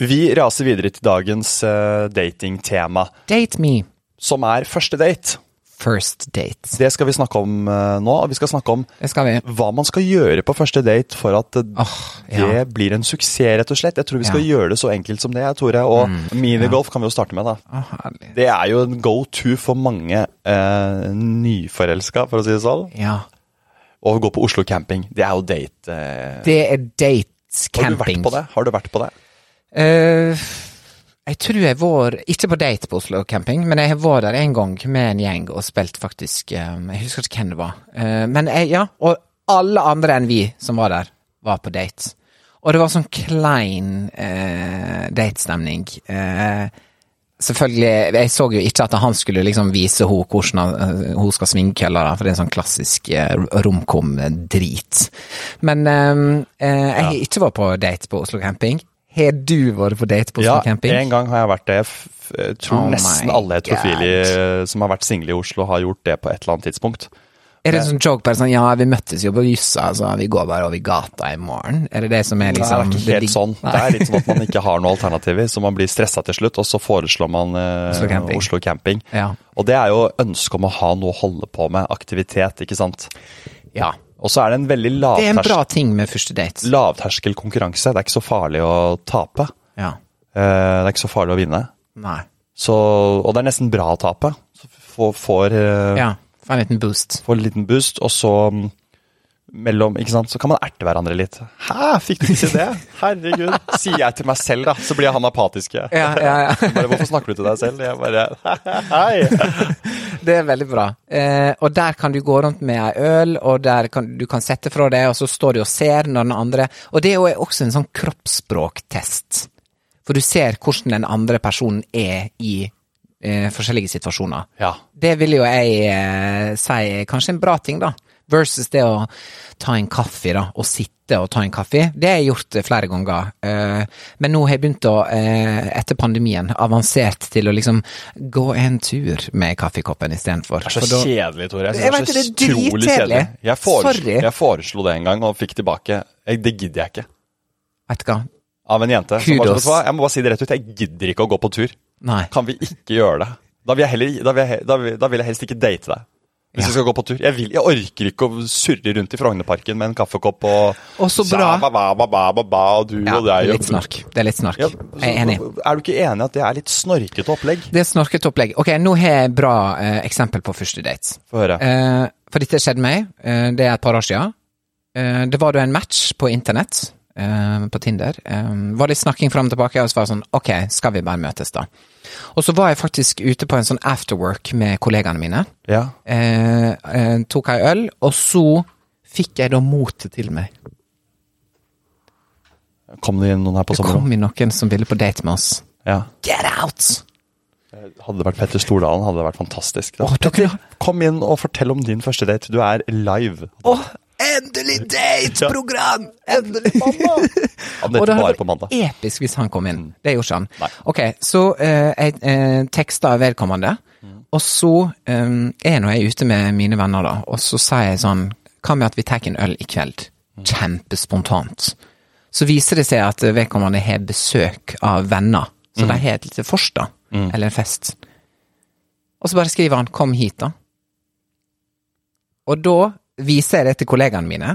Vi raser videre til dagens eh, datingtema,
Date me.
som er første date.
First date.
Det skal vi snakke om eh, nå, og vi skal snakke om
Det skal vi.
hva man skal gjøre på første date for at eh,
Åh, ja.
det blir en suksess, rett og slett. Jeg tror vi skal
Ja. Mm.
gjøre det så enkelt som det, Tore. Og minigolf kan vi jo starte med, da.
Åh, herlig.
Det er jo en go to for mange eh, nyforelska, for å si det sånn.
Ja.
Å gå på Oslo camping, det er jo date. Eh.
Det er
Har du vært
dates-camping.
på det? Har du vært på det?
Eh, Jeg tror jeg var Ikke på date på Oslo camping, men jeg var der en gang med en gjeng og spilte faktisk um, Jeg husker ikke hvem det var. Eh, men jeg, ja, og alle andre enn vi som var der, var på date. Og det var sånn klein eh, datestemning. Eh, selvfølgelig Jeg så jo ikke at han skulle liksom vise henne hvordan han, eh, hun skal sminke, eller, da, for det er en sånn klassisk eh, romkom-drit. Men eh, eh, jeg har ikke vært på date på Oslo camping. Har du vært på date på Oslo
Ja,
camping?
en gang har jeg vært det. Jeg f- jeg tror
Oh my
nesten alle heterofile i- som har vært single i Oslo, har gjort det på et eller annet tidspunkt.
Er det en sånn joke bare sånn Ja, vi møttes jo på Jussa, så vi går bare over gata i morgen. Er det det som er
Det
liksom
er ikke
det
helt
dig-
sånn. Det
Nei.
er litt sånn at man ikke har noen alternativer, så man blir stressa til slutt, og så foreslår man eh,
Oslo camping.
Oslo camping.
Ja.
Og det er jo ønsket om å ha noe å holde på med, aktivitet, ikke sant.
Ja.
Og så er det en veldig
Det er en bra
lavters
ting med første date.
lavterskel konkurranse. Det er ikke så farlig å tape.
Ja.
Eh, Det er ikke så farlig å vinne.
Nei.
Så, og det er nesten bra å tape. Så får, får, eh,
Ja. Få en liten boost.
får en liten boost, og så mm, mellom, ikke sant, så kan man erte hverandre litt. Hæ, fikk du ikke det? Herregud. Sier jeg til meg selv, da, så blir han apatisk. jeg.
Ja, ja, ja.
Bare, hvorfor snakker du til deg selv? Jeg bare, hei.
Det er veldig bra. Eh, og der kan du gå rundt med ei øl, og der kan, du kan sette fra deg, og så står du og ser når den andre Og det er jo også en sånn kroppsspråktest. For du ser hvordan den andre personen er i eh, forskjellige situasjoner.
Ja.
Det vil jo jeg eh, si er kanskje en bra ting, da. Versus det å ta en kaffe, da. Å sitte og ta en kaffe. Det har jeg gjort eh, flere ganger. Eh, Men nå har jeg begynt å, eh, etter pandemien, avansert til å liksom gå en tur med kaffekoppen istedenfor.
Det er så kjedelig, Tore. Jeg, synes
Jeg
det er
vet
så
det, det er
utrolig
dritkjedelig.
kjedelig. Jeg foreslo,
Sorry.
jeg foreslo det en gang og fikk tilbake. Jeg, det gidder jeg ikke.
Vet du hva?
Av en jente. som bare,
Kudos.
"Vet du hva, jeg må bare si det rett ut. Jeg gidder ikke å gå på tur.
Nei.
Kan vi ikke gjøre det? Da vil jeg, heller, da vil jeg, he- da vil, da vil jeg helst ikke date deg. Hvis vi skal gå på tur. Jeg, vil, jeg orker ikke å surre rundt i Frognerparken med en kaffekopp og
Og så bra.
Ba, ba, ba, ba, ba, ba, og du
Ja,
og deg.
litt snark. Det er litt snark.
Ja,
Jeg er enig.
Er du ikke enig at det er litt snorkete opplegg?
Det er snorkete opplegg. Ok, nå har jeg et bra eh, eksempel på første date.
Få høre.
Eh, for dette skjedde meg, eh, det er et par år siden. Eh, det var da en match på internett, eh, på Tinder. Eh, var litt snakking fram og tilbake, og så var det sånn Ok, skal vi bare møtes, da? Og så var jeg faktisk ute på en sånn afterwork med kollegaene mine.
Ja.
Eh, eh, tok ei øl, og så fikk jeg da motet til meg.
Kom det inn noen her på
Det
sommeren?
kom inn noen som ville på date med oss.
Ja.
Get out!
Hadde det vært Petter Stordalen, hadde det vært fantastisk. Da.
Åh, dere-
Kom inn og fortell om din første date. Du er live.
Åh, endelig date-program! Endelig!
Om dette
Og det hadde
bare
vært
på mandag. Mm.
Episk hvis han kom inn. Det gjorde ikke han.
Nei.
Ok, så eh, jeg eh, teksta vedkommende,
Mm.
og så eh, er nå jeg ute med mine venner, da, og så sier jeg sånn Hva med at vi tar en øl i kveld?
Mm.
Kjempespontant. Så viser det seg at vedkommende har besøk av venner,
Mm.
så de har et lite vors, da, eller en fest. Og så bare skriver han 'kom hit', da. Og da viser jeg det til kollegaene mine,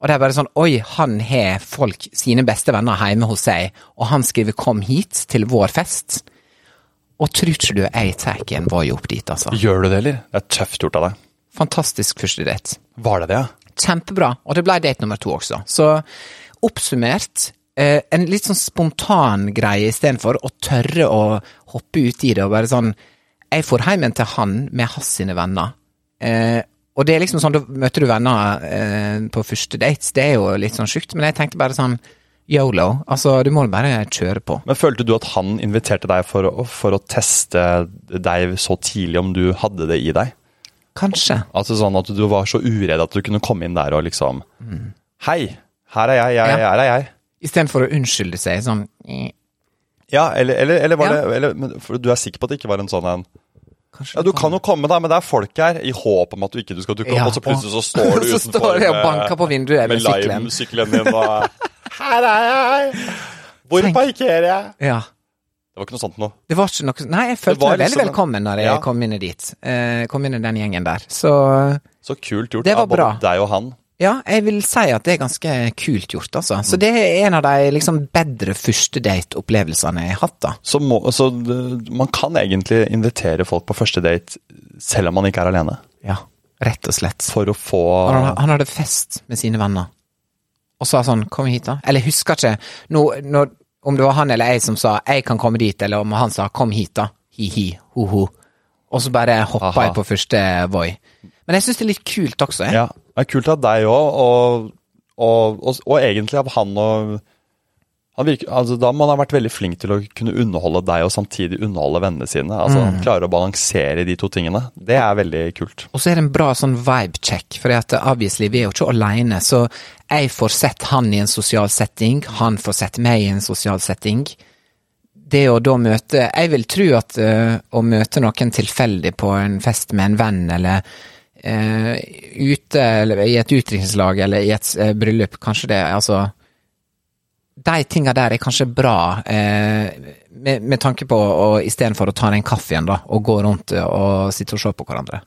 og det er bare sånn Oi, han har folk, sine beste venner hjemme hos seg, og han skriver 'kom hit' til vår fest. Og tror ikke du jeg tar en Voi opp dit, altså.
Gjør du det, eller? Det er tøft gjort av deg.
Fantastisk første date.
Var det det, ja?
Kjempebra. Og det ble date nummer to også. Så oppsummert eh, en litt sånn spontan greie istedenfor å tørre å hoppe ut i det og bare sånn Jeg får heimen til han med hans sine venner. Eh, og det er liksom sånn, da møter du venner eh, på første dates, det er jo litt sånn sjukt, men jeg tenkte bare sånn Yolo. Altså, du må bare kjøre på.
Men følte du at han inviterte deg for å, for å teste deg så tidlig om du hadde det i deg?
Kanskje.
Altså sånn at du var så uredd at du kunne komme inn der og liksom Hei, her er jeg, jeg,
Ja.
her er jeg.
Istedenfor å unnskylde seg sånn eh,
Ja, eller, eller, eller var
Ja.
det eller, men, For du er sikker på at det ikke var en sånn en
kanskje
Ja, du kan jo komme, da, men det er folk her, i håp om at du ikke du skal dukke opp,
Ja,
og så plutselig så står du
så
utenfor
står jeg og
med-
banker på vinduet med sykkelen.
Lime-sykkelen din og Her er jeg! Hvor
Tenk.
parkerer jeg?
Ja.
Det var ikke noe sånt noe.
Det var ikke noe Nei, jeg følte
var
meg veldig
liksom-
velkommen når jeg
Ja.
kom inn i dit. Eh, kom inn i den gjengen der. Så
Så kult gjort
Det var
av både
bra.
deg og han.
ja, jeg vil si at det er ganske kult gjort, altså.
Mm.
Så det er en av de liksom bedre første date-opplevelsene jeg har hatt, da.
Så, må, så det- man kan egentlig invitere folk på første date selv om man ikke er alene,
Ja, rett og slett.
for å få
Og han, han hadde fest med sine venner. Og sa sånn 'kom hit', da. Eller jeg husker ikke. Nå, nå om det var han eller jeg som sa 'jeg kan komme dit', eller om han sa 'kom hit', da. Hi-hi, ho-ho. Og så bare hoppa
Aha.
jeg på første Voi. Men jeg syns det er litt kult også. Jeg.
Ja, det er kult av deg òg, og, og, og, og egentlig av han og han virker, altså, Da må han ha vært veldig flink til å kunne underholde deg og samtidig underholde vennene sine. Altså
Mm.
Han klarer å balansere de to tingene. Det er veldig kult.
Og så er det en bra sånn vibe-check, for obviously vi er jo ikke aleine. Så jeg får sett han i en sosial setting, han får sett meg i en sosial setting. Det å da møte Jeg vil tro at eh, å møte noen tilfeldig på en fest med en venn, eller eh, ute eller i et utdrikningslag eller i et eh, bryllup, kanskje det Altså de tinga der er kanskje bra, eh, med, med tanke på å istedenfor å ta en kaffe igjen, da, og gå rundt eh, og sitte og se på hverandre.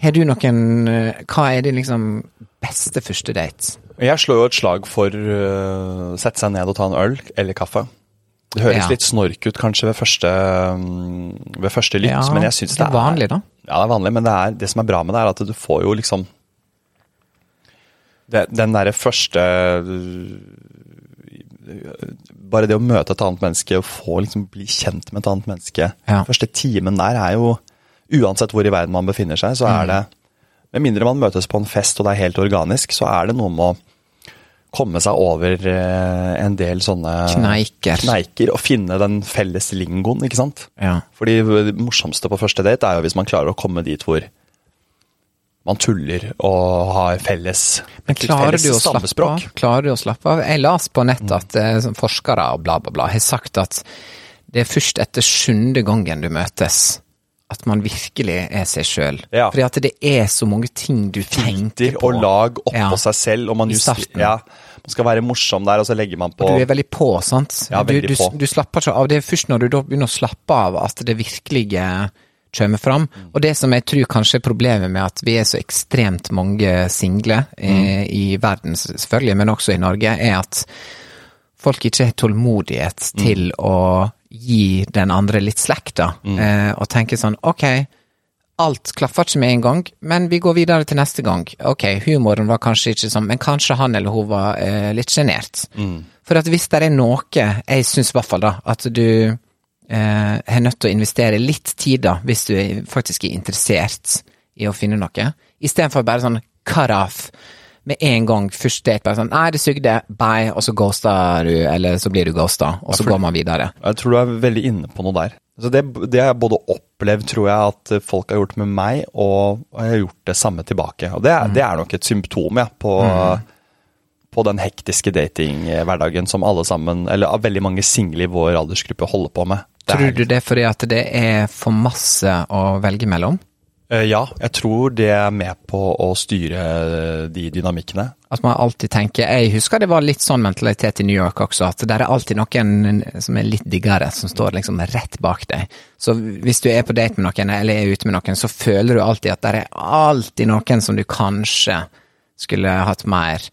Har du noen eh, Hva er din liksom beste første date?
Jeg slår jo et slag for øh, sette seg ned og ta en øl eller kaffe. Det høres
Ja.
litt snork ut kanskje ved første, øh, ved første lytt, men jeg syns det,
er vanlig, da.
Ja, det er vanlig, men det, er, det som er bra med det, er at du får jo liksom det, Den derre første Bare det å møte et annet menneske og få liksom bli kjent med et annet menneske
Ja.
Første timen der er jo Uansett hvor i verden man befinner seg, så
Mm.
er det Med mindre man møtes på en fest og det er helt organisk, så er det noe med å komme seg over eh, en del sånne
Kneiker.
kneiker og finne den felles lingoen, ikke sant?
Ja.
Fordi det morsomste på første date er jo hvis man klarer å komme dit hvor man tuller og har felles
Men
et
klarer
felles
du, å slappe av?
stammespråk. Mm.
klarer du å slappe av? Jeg las på nettet at eh, sånn forskere og bla, bla, bla har sagt at det er først etter sjuende gangen du møtes at man virkelig er seg sjøl.
Ja.
Fordi at det er så mange ting du tenker
Tinter
på.
og lag oppå
Ja.
seg selv, og man,
I
just,
starten.
ja, man skal være morsom der, og så legger man på
Du er veldig på, sant?
Ja,
du,
veldig
du,
på.
du slapper ikke av. Det er først når du da begynner å slappe av at det virkelige kommer fram.
Mm.
Og det som jeg tror kanskje er problemet med at vi er så ekstremt mange single eh,
Mm.
i verden, selvfølgelig, men også i Norge, er at folk ikke har tålmodighet til å gi den andre litt slack, da. Eh, og tenke sånn, ok, alt klaffer ikke med en gang, men vi går videre til neste gang. Ok, humoren var kanskje ikke sånn, men kanskje han eller hun var eh, litt sjenert. For at hvis det er noe, jeg syns i hvert fall da, at du eh, er nødt til å investere litt tid da, hvis du er- faktisk er interessert i å finne noe, istedenfor bare sånn cut off med en gang, første date, bare sånn nei, det sugde, bye, og så ghoster du, eller så blir du ghosta, og så går man videre.
Jeg tror du er veldig inne på noe der. Så det, det har jeg både opplevd, tror jeg, at folk har gjort med meg, og og jeg har gjort det samme tilbake. Og det,
Mm.
er- det er nok et symptom ja, på, på den hektiske datinghverdagen som alle sammen, eller av veldig mange single i vår aldersgruppe, holder på med. Det er-
Tror du det er fordi at det er for masse å velge mellom?
Eh, Ja, jeg tror det er med på å styre de dynamikkene.
At man alltid tenker Jeg husker det var litt sånn mentalitet i New York også, at der er alltid noen som er litt diggere, som står liksom rett bak deg. Så hvis du er på date med noen, eller er ute med noen, så føler du alltid at der er alltid noen som du kanskje skulle hatt mer.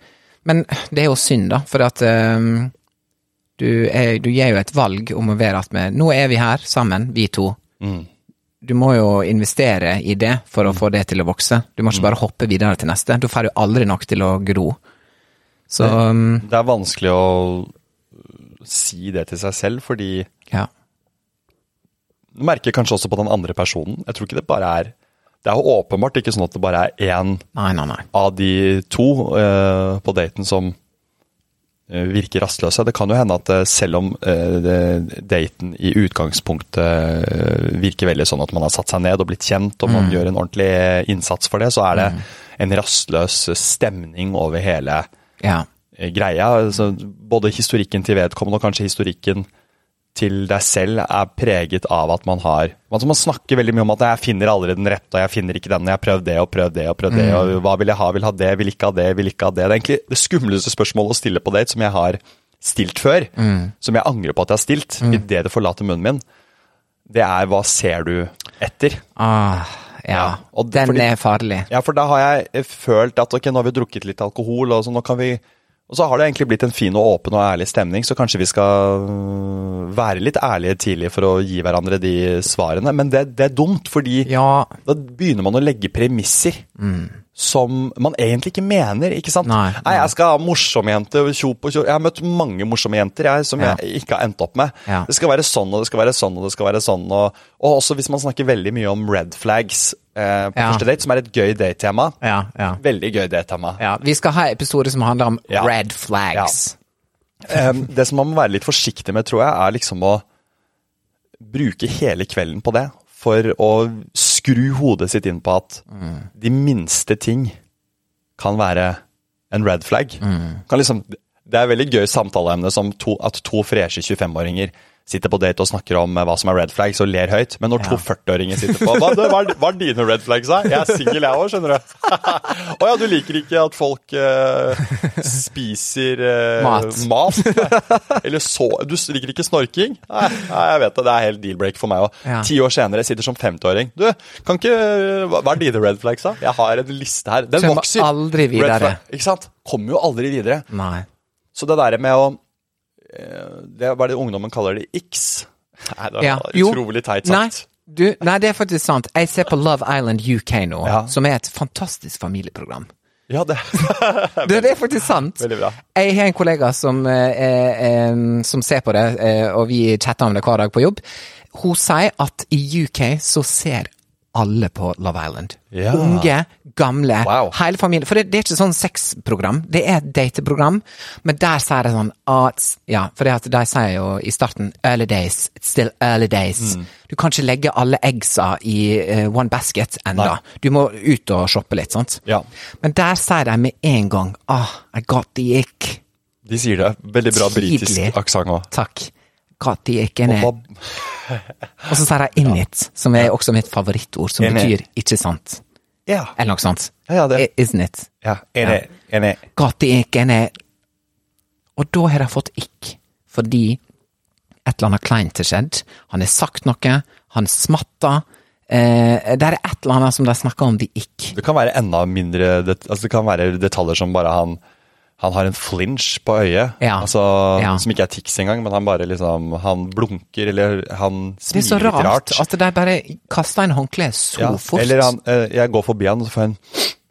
Men det er jo synd, da, for at ehm, du, er, du gir jo et valg om å være at med Nå er vi her sammen, vi to. Du må jo investere i det for
Mm.
å få det til å vokse. Du må ikke bare hoppe videre til neste. Da får du aldri nok til å gro. Så um,
Det er vanskelig å si det til seg selv, fordi
ja.
Du merker kanskje også på den andre personen. Jeg tror ikke det bare er Det er jo åpenbart ikke sånn at det bare er én
Nei, nei, nei.
av de to eh, på daten som eh, virker rastløse. Det kan jo hende at eh, selv om eh, det- daten i utgangspunktet eh, virker veldig sånn at man har satt seg ned og blitt kjent, og man gjør en ordentlig eh, innsats for det, så er det en rastløs stemning over hele
Ja.
eh, greia. Altså, både historikken til vedkommende og kanskje historikken til deg selv er preget av at man har altså Man snakker veldig mye om at 'jeg finner aldri den rette', og 'jeg finner ikke den', og 'jeg har prøvd det og prøvd det', og prøvd det, og 'hva vil jeg ha', vil ha det, vil ikke ha det, vil ikke ha det. Det er egentlig det skumleste spørsmålet å stille på date som jeg har stilt før, som jeg angrer på at jeg har stilt, idet det forlater munnen min, det er 'hva ser du etter'?
Ah, ja.
Ja, og det-
Den
fordi-
er farlig.
eh, Ja, for da har jeg følt at ok, nå har vi drukket litt alkohol, og så nå kan vi Og så har det egentlig blitt en fin og åpen og ærlig stemning, så kanskje vi skal øh, være litt ærlige tidlig for å gi hverandre de svarene. Men det, det er dumt, fordi
Ja.
da begynner man å legge premisser som man egentlig ikke mener, ikke sant?
Nei, nei.
jeg skal ha morsomme jenter, tjop og tjop. Jeg har møtt mange morsomme jenter jeg, som
Ja.
jeg ikke har endt opp med.
Ja.
Det skal være sånn, og det skal være sånn, og det skal være sånn. Og, og også hvis man snakker veldig mye om red flags eh, på
Ja.
første date, som er et gøy date-tema.
Ja, ja.
Veldig gøy date-tema.
ja. Vi skal ha episode som handler om
Ja.
red flags.
Em, det som man må være litt forsiktig med, tror jeg, er liksom å bruke hele kvelden på det. For å skru hodet sitt inn på at de minste ting kan være en red flag. Kan liksom, det er veldig gøy samtaleemne som to, at to freshe 25-åringer sitter på date og snakker om eh, hva som er red flags og ler høyt. Men når to 40-åringer sitter på hva, det, hva, er- hva er dine red flags, da? Jeg er singel, jeg òg, skjønner du. Å ja, du liker ikke at folk eh, spiser eh,
Mat.
Nei. Eller så Du liker ikke snorking? Nei, nei jeg vet det. Det er helt deal-break for meg òg.
Ja.
Ti år senere sitter som 50-åring. Du, kan ikke Hva hva er dine red flags, da? Jeg har en liste her. Den
Kommer
vokser.
aldri
Red
videre.
flag- Ikke sant? Kommer jo aldri videre.
Nei.
Så det der med å eh, det, Hva er det ungdommen kaller det? X? Nei, det er
Ja. Jo.
utrolig teit sagt.
Nei, du, nei, det er faktisk sant. Jeg ser på Love Island UK nå,
Ja.
som er et fantastisk familieprogram.
Ja, det
Det, det er faktisk sant.
Veldig bra.
Jeg har en kollega som, eh, eh, eh, som ser på det, eh, og vi chatter om det hver dag på jobb. Hun sier at i UK så ser alle på Love Island.
Ja.
Unge, gamle,
Wow.
hele familien. For det, det er ikke sånn sexprogram, det er et dateprogram. Men der sier de sånn ah, it's- Ja, for det at de sier jo i starten 'early days', it's still early days.
Mm.
Du kan ikke legge alle eggsa i eh, one basket ennå.
Nei.
Du må ut og shoppe litt, sant?
Ja.
Men der sier de med en gang ah, 'I got the ick'.
De sier det. Veldig bra
Tidlig.
britisk aksent òg.
Takk. Got the ick in it.
Hva-
Og så sier de 'in it', som er også mitt favorittord, som
In it.
betyr 'ikke sant',
Ja.
eller noe sånt.
Ja, ja, det-
I- Isn't it?
ja. Enig. Enig.
gateeken er Og da har de fått ikk, fordi et eller annet kleint har skjedd. Han har sagt noe, han smatter. Eh, det er et eller annet som de snakker om de ikk.
Det kan være enda mindre det, altså det kan være detaljer som bare han han har en flinch på øyet,
Ja.
altså,
Ja.
som ikke er tics engang, men han bare liksom, han blunker, eller han
Det er så
smiler litt
rart,
rart.
at de bare kaster en håndkle så
Ja,
fort.
Eller han, eh, jeg går forbi han, og så får jeg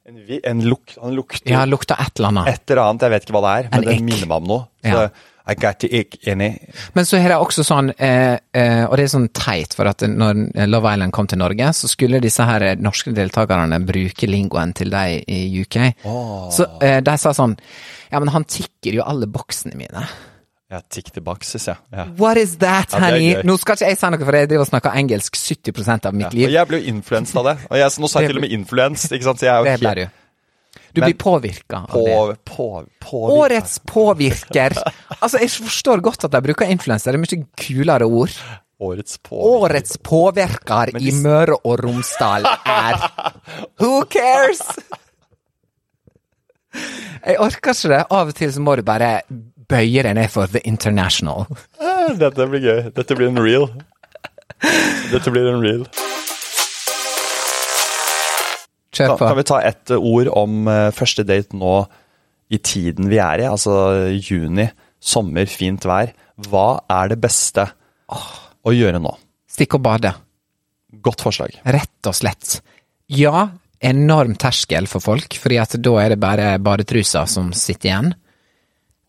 en, en, vi- en luk, han lukter
ja, lukter et eller annet.
et eller annet, jeg vet ikke hva det er,
En
men det
ick.
minner meg om noe. Så
Ja.
I got the ick inni.
Men så har de også sånn, eh, eh, og det er sånn teit, for at når Love Island kom til Norge, så skulle disse her eh, norske deltakerne bruke lingoen til de i UK. Så eh, de sa sånn Ja, men han tikker jo alle boksene mine.
Ja, tick the box, synes jeg. Ja.
What is that,
Ja, det er
honey?
gøy.
Nå skal ikke jeg si noe, for jeg driver og snakker engelsk 70 av
Ja.
mitt
Og
liv.
jeg ble jo influenset av det, og jeg, nå sa jeg til og med influenset, ikke sant? Så jeg er jo
Det blir du. Du
Men-
blir påvirka av
på,
det.
på, på,
Årets påvirker! Altså, jeg forstår godt at de bruker influenser, det er mye kulere ord.
årets på.
Årets påvirker i Møre og Romsdal er Who cares? Jeg orker ikke det. Av og til så må du bare bøye deg ned for the international.
Dette blir gøy. Dette blir en reel. Dette blir en reel.
Kjør
Kan,
på.
kan vi ta ett eh, ord om eh, første date nå i tiden vi er i? Altså eh, juni, sommer, fint vær. Hva er det beste å gjøre nå?
Stikk og bade.
Godt forslag.
Rett og slett. Ja, enorm terskel for folk, fordi at da er det bare badetrusa som sitter igjen.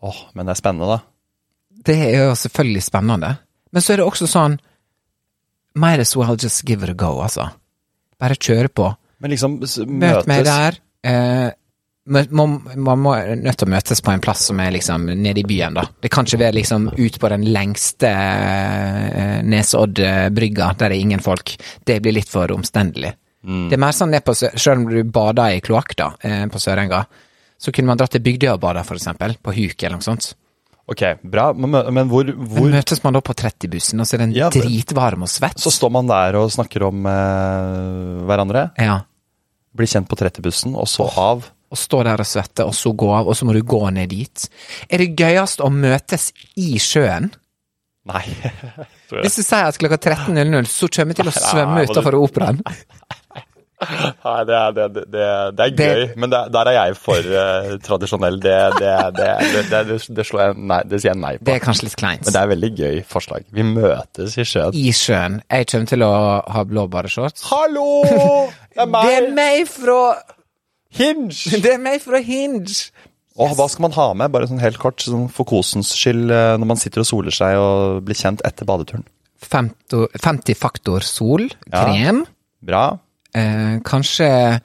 Åh, men det er spennende, da.
Det er jo selvfølgelig spennende. Men så er det også sånn Might as well just give it a go, altså. Bare kjøre på.
Men liksom s-
Møt
møtes
meg der. Eh, men man, man må er nødt til å møtes på en plass som er liksom nede i byen, da. Det kan ikke være liksom ut på den lengste eh, Nesodd-brygga, der det er ingen folk. Det blir litt for omstendelig. Det er mer sånn ned på Sø- Selv om du bader i kloakk, da, eh, på Sørenga, så kunne man dratt til Bygdøy og bada, for eksempel. På Huk eller noe sånt.
Ok, bra. Men, mø- men hvor,
Men
hvor
møtes man da på 30-bussen, og så er den
Ja, men-
dritvarm og svett?
Så står man der og snakker om eh, hverandre.
Ja.
Blir kjent på 30-bussen, og så av.
og stå der og svette, og så gå av, og så må du gå ned dit. Er det gøyest å møtes i sjøen?
Nei.
Hvis du sier at klokka 13.00 så kommer jeg til å
Nei, nei,
svømme
nei, må du-
utafor operaen.
Nei, det er, det, det, det- det er gøy,
Det-
men det, der er jeg for eh, tradisjonell. Det, det, det, det, det, det, det slår jeg nei Det sier jeg nei på.
Det er kanskje litt kleint.
Men det er veldig gøy forslag. Vi møtes i sjøen.
I sjøen. Jeg kommer til å ha blå badeshorts.
Hallo! Det er
Det er
meg!
meg fra
Hinge!
Det er meg fra Hinge!
Og hva skal man ha med, bare sånn helt kort, sånn for kosens skyld, eh, når man sitter og soler seg og blir kjent etter badeturen?
Femto- 50 faktor sol,
Ja.
krem.
Bra.
Eh, kanskje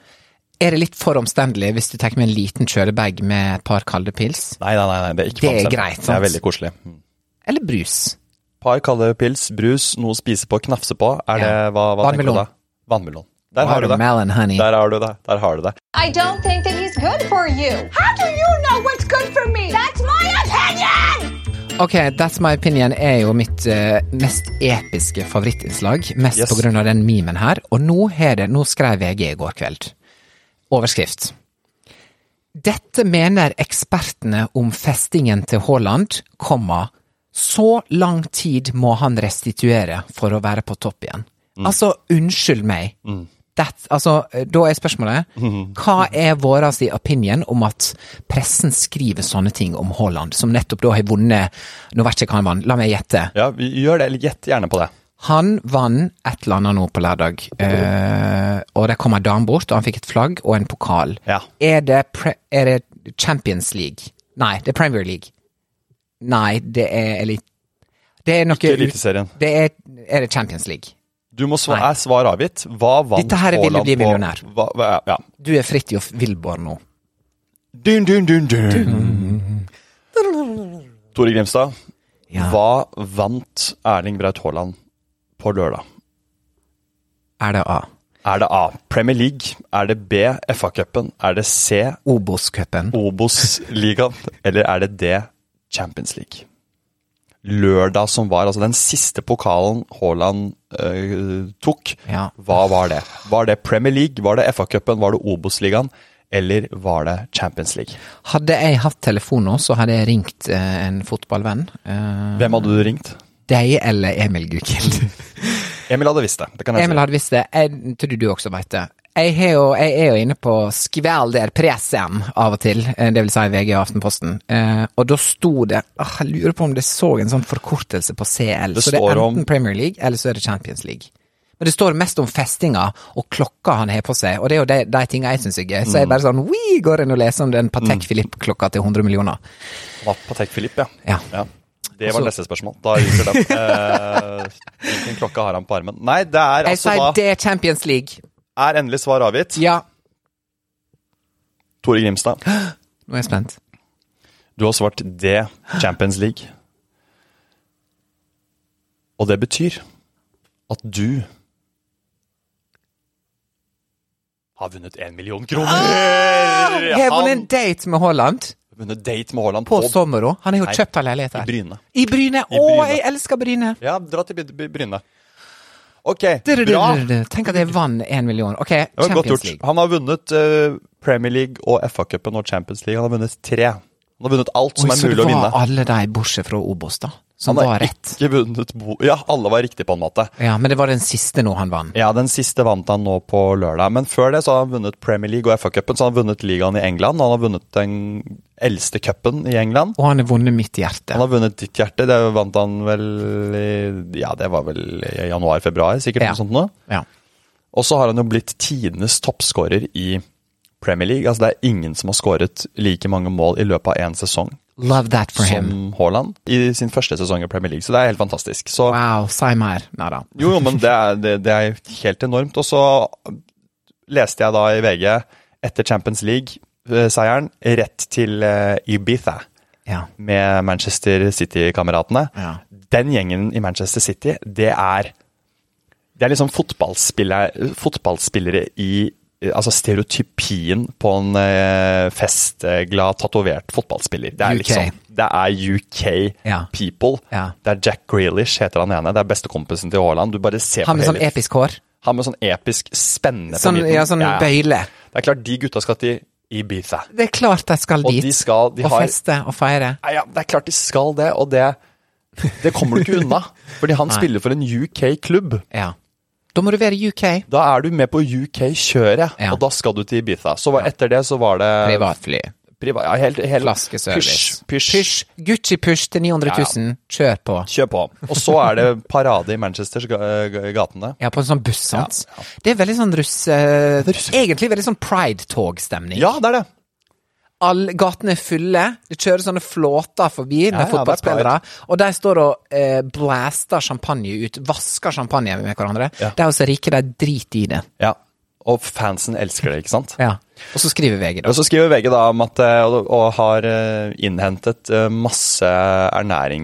er det litt for omstendelig hvis du tar med en liten kjølebag med et par kalde pils?
Nei, nei, nei, nei det er ikke
Det er
pamsem.
greit,
Det
sant?
er veldig koselig. Mm.
Eller brus?
Par kalde pils, brus, noe å spise på, knafse på. Er det,
Ja.
hva, hva tenker du
Vannmelon.
da? Vannmelon. Der har du det.
Watermelon honey.
Der har du det. Der har du det.
I don't think that he's good for you. How do you know what's good for me? That's my opinion!
Ok, That's My Opinion er jo mitt eh, mest episke favorittinnslag. Mest
Yes.
på grunn av den memen her. Og nå, har det, nå skrev VG i går kveld. Overskrift. Dette mener ekspertene om festingen til Haaland, komma, så lang tid må han restituere for å være på topp igjen. Altså, unnskyld meg. That, altså, da er spørsmålet Hva er vår altså, opinion om at pressen skriver sånne ting om Haaland, som nettopp da har vunnet Nå vet jeg ikke hva han vant, la meg gjette.
Ja, vi gjør det. eller Gjett gjerne på det.
Han vant et eller annet nå på lørdag, eh, og det kom ei dame bort, og han fikk et flagg og en pokal.
Ja.
Er, det pre er det Champions League? Nei, det er Premier League. Nei, det er elit... Det er noe
Ikke Eliteserien.
Det er, er det Champions League.
Du må sva-
Nei.
er svar avgitt. Hva vant
Dette her er Vil du
Haaland
bli
på-
millionær?
Hva, hva- ja.
Du er Fridtjof Wilborg nå.
Dun, dun, dun, dun. Tore Grimstad,
Ja.
hva vant Erling Braut Haaland på lørdag?
Er det A?
Er det A. Premier League? Er det B. FA-cupen? Er det C.
Obos-cupen.
Obos-ligaen? Eller er det D. Champions League? Lørdag som var, altså den siste pokalen Haaland eh, tok,
Ja.
hva var det? Var det Premier League, var det FA-cupen, var det Obos-ligaen, eller var det Champions League?
Hadde jeg hatt telefon nå, så hadde jeg ringt eh, en fotballvenn. Eh,
Hvem hadde du ringt?
deg eller Emil Gukild.
Emil hadde visst det. det kan jeg
Emil hadde visst det. Jeg tror du også vet det. Jeg, har jo, jeg er jo inne på Skvelder pressen av og til, eh, det vil si VG og Aftenposten. Eh, og da sto det ah, Jeg lurer på om det så en sånn forkortelse på CL.
Det
så det er
står
enten
om-
Premier League eller så er det Champions League. Men det står mest om festinga og klokka han har på seg, og det er jo de, de tinga jeg syns er gøy.
Mm.
Så jeg bare sånn «Wii», går inn og leser om den Patek Philippe-klokka til 100 millioner.
si. Var Patek Philippe, ja.
Ja.
ja. Det var
Altså-
neste spørsmål. Da ryker den. Eh, Hvilken klokke har han på armen? Nei, det er
Jeg
altså
sier
da
det er Champions League.
Er endelig svar avgitt?
Ja.
Tore Grimstad,
Nå er jeg spent.
du har svart D. Champions League. Og det betyr at du har vunnet én million kroner!
Ah! Jeg har vunnet en date med Haaland.
har vunnet date med Haaland
På Sommero. Han har jo
Nei,
kjøpt av leilighet
i
her.
Bryne.
I Bryne. Å,
Bryne.
jeg elsker Bryne!
Ja, dra til Bry- Bry- Bryne. Ok,
Du, du, du,
bra.
du, du. Tenk at jeg vant én million. Ok,
Det var godt
Champions
gjort.
League.
Han har vunnet eh, Premier League og FA-cupen og Champions League. Han har vunnet tre. Han har vunnet alt som
Oi,
er
så
mulig
det
å
var
vinne.
alle de bortsett fra Obos, da, som
Han
var
har
rett.
ikke vunnet bo... Ja, alle var riktig på en måte.
Ja, Men det var den siste nå han vant.
Ja, den siste vant han nå på lørdag. Men før det så har han vunnet Premier League og FA-cupen, så har han vunnet ligaen i England. Han har vunnet den eldste cupen i England.
Og han har vunnet mitt hjerte.
Han har vunnet ditt hjerte. Det vant han vel i, Ja, det var vel i januar-februar, sikkert.
Ja.
Noe sånt nå.
Ja.
Og så har han jo blitt tidenes toppskårer i Premier League. Altså Det er ingen som har skåret like mange mål i løpet av én sesong
Love that for him.
som Haaland i sin første sesong i Premier League. Så det er helt fantastisk. Så
Wow, si mer. Nei da.
jo, jo, men det er, det, det er helt enormt. Og så leste jeg da i VG etter Champions League-seieren rett til eh, Ibiza
Ja.
med Manchester City-kameratene.
Ja.
Den gjengen i Manchester City, det er Det er liksom fotballspillere, fotballspillere i eh, Altså stereotypien på en eh, festglad, tatovert fotballspiller. Det er
UK.
liksom Det er UK
Ja.
people.
Ja.
Det er Jack Grealish, heter han ene. Det er bestekompisen til Haaland. Du bare ser
Han med
på
sånn
hele
episk hår.
Han med sånn episk spenne på
Sånn,
midten.
ja, sånn bøyle.
Det er klart, de gutta skal til Ibiza.
Det er klart de skal
Og
dit.
de skal De
og
har
feste og feire.
Nei, ja, det er klart de skal det, og det, det kommer du ikke unna. Fordi han spiller for en UK-klubb.
Ja. Da må du være i UK.
Da er du med på UK-kjøret,
Ja.
og da skal du til Ibiza. Så var, etter det så var det
Privatfly.
priva- ja, helt, helt,
Flaskeservice.
Pysj, pysj.
Pysj. Gucci push til 900 000. Kjør på.
Kjør på. Og så er det parade i Manchesters ga- ga- gatene.
Ja, på en sånn buss, sant? Det er veldig sånn russe... Egentlig veldig sånn pride-tog-stemning.
Ja, det er det!
All, gatene er fulle, det kjører sånne flåter forbi med
ja, det er
fotballspillere, og de står og eh, blaster champagne ut, vasker champagne med hverandre. De er jo så rike, de driter i det.
Ja. Og fansen elsker det, ikke sant?
Ja. Og så skriver VG, da.
Og så skriver VG da om at eh, og, og har eh, innhentet eh, masse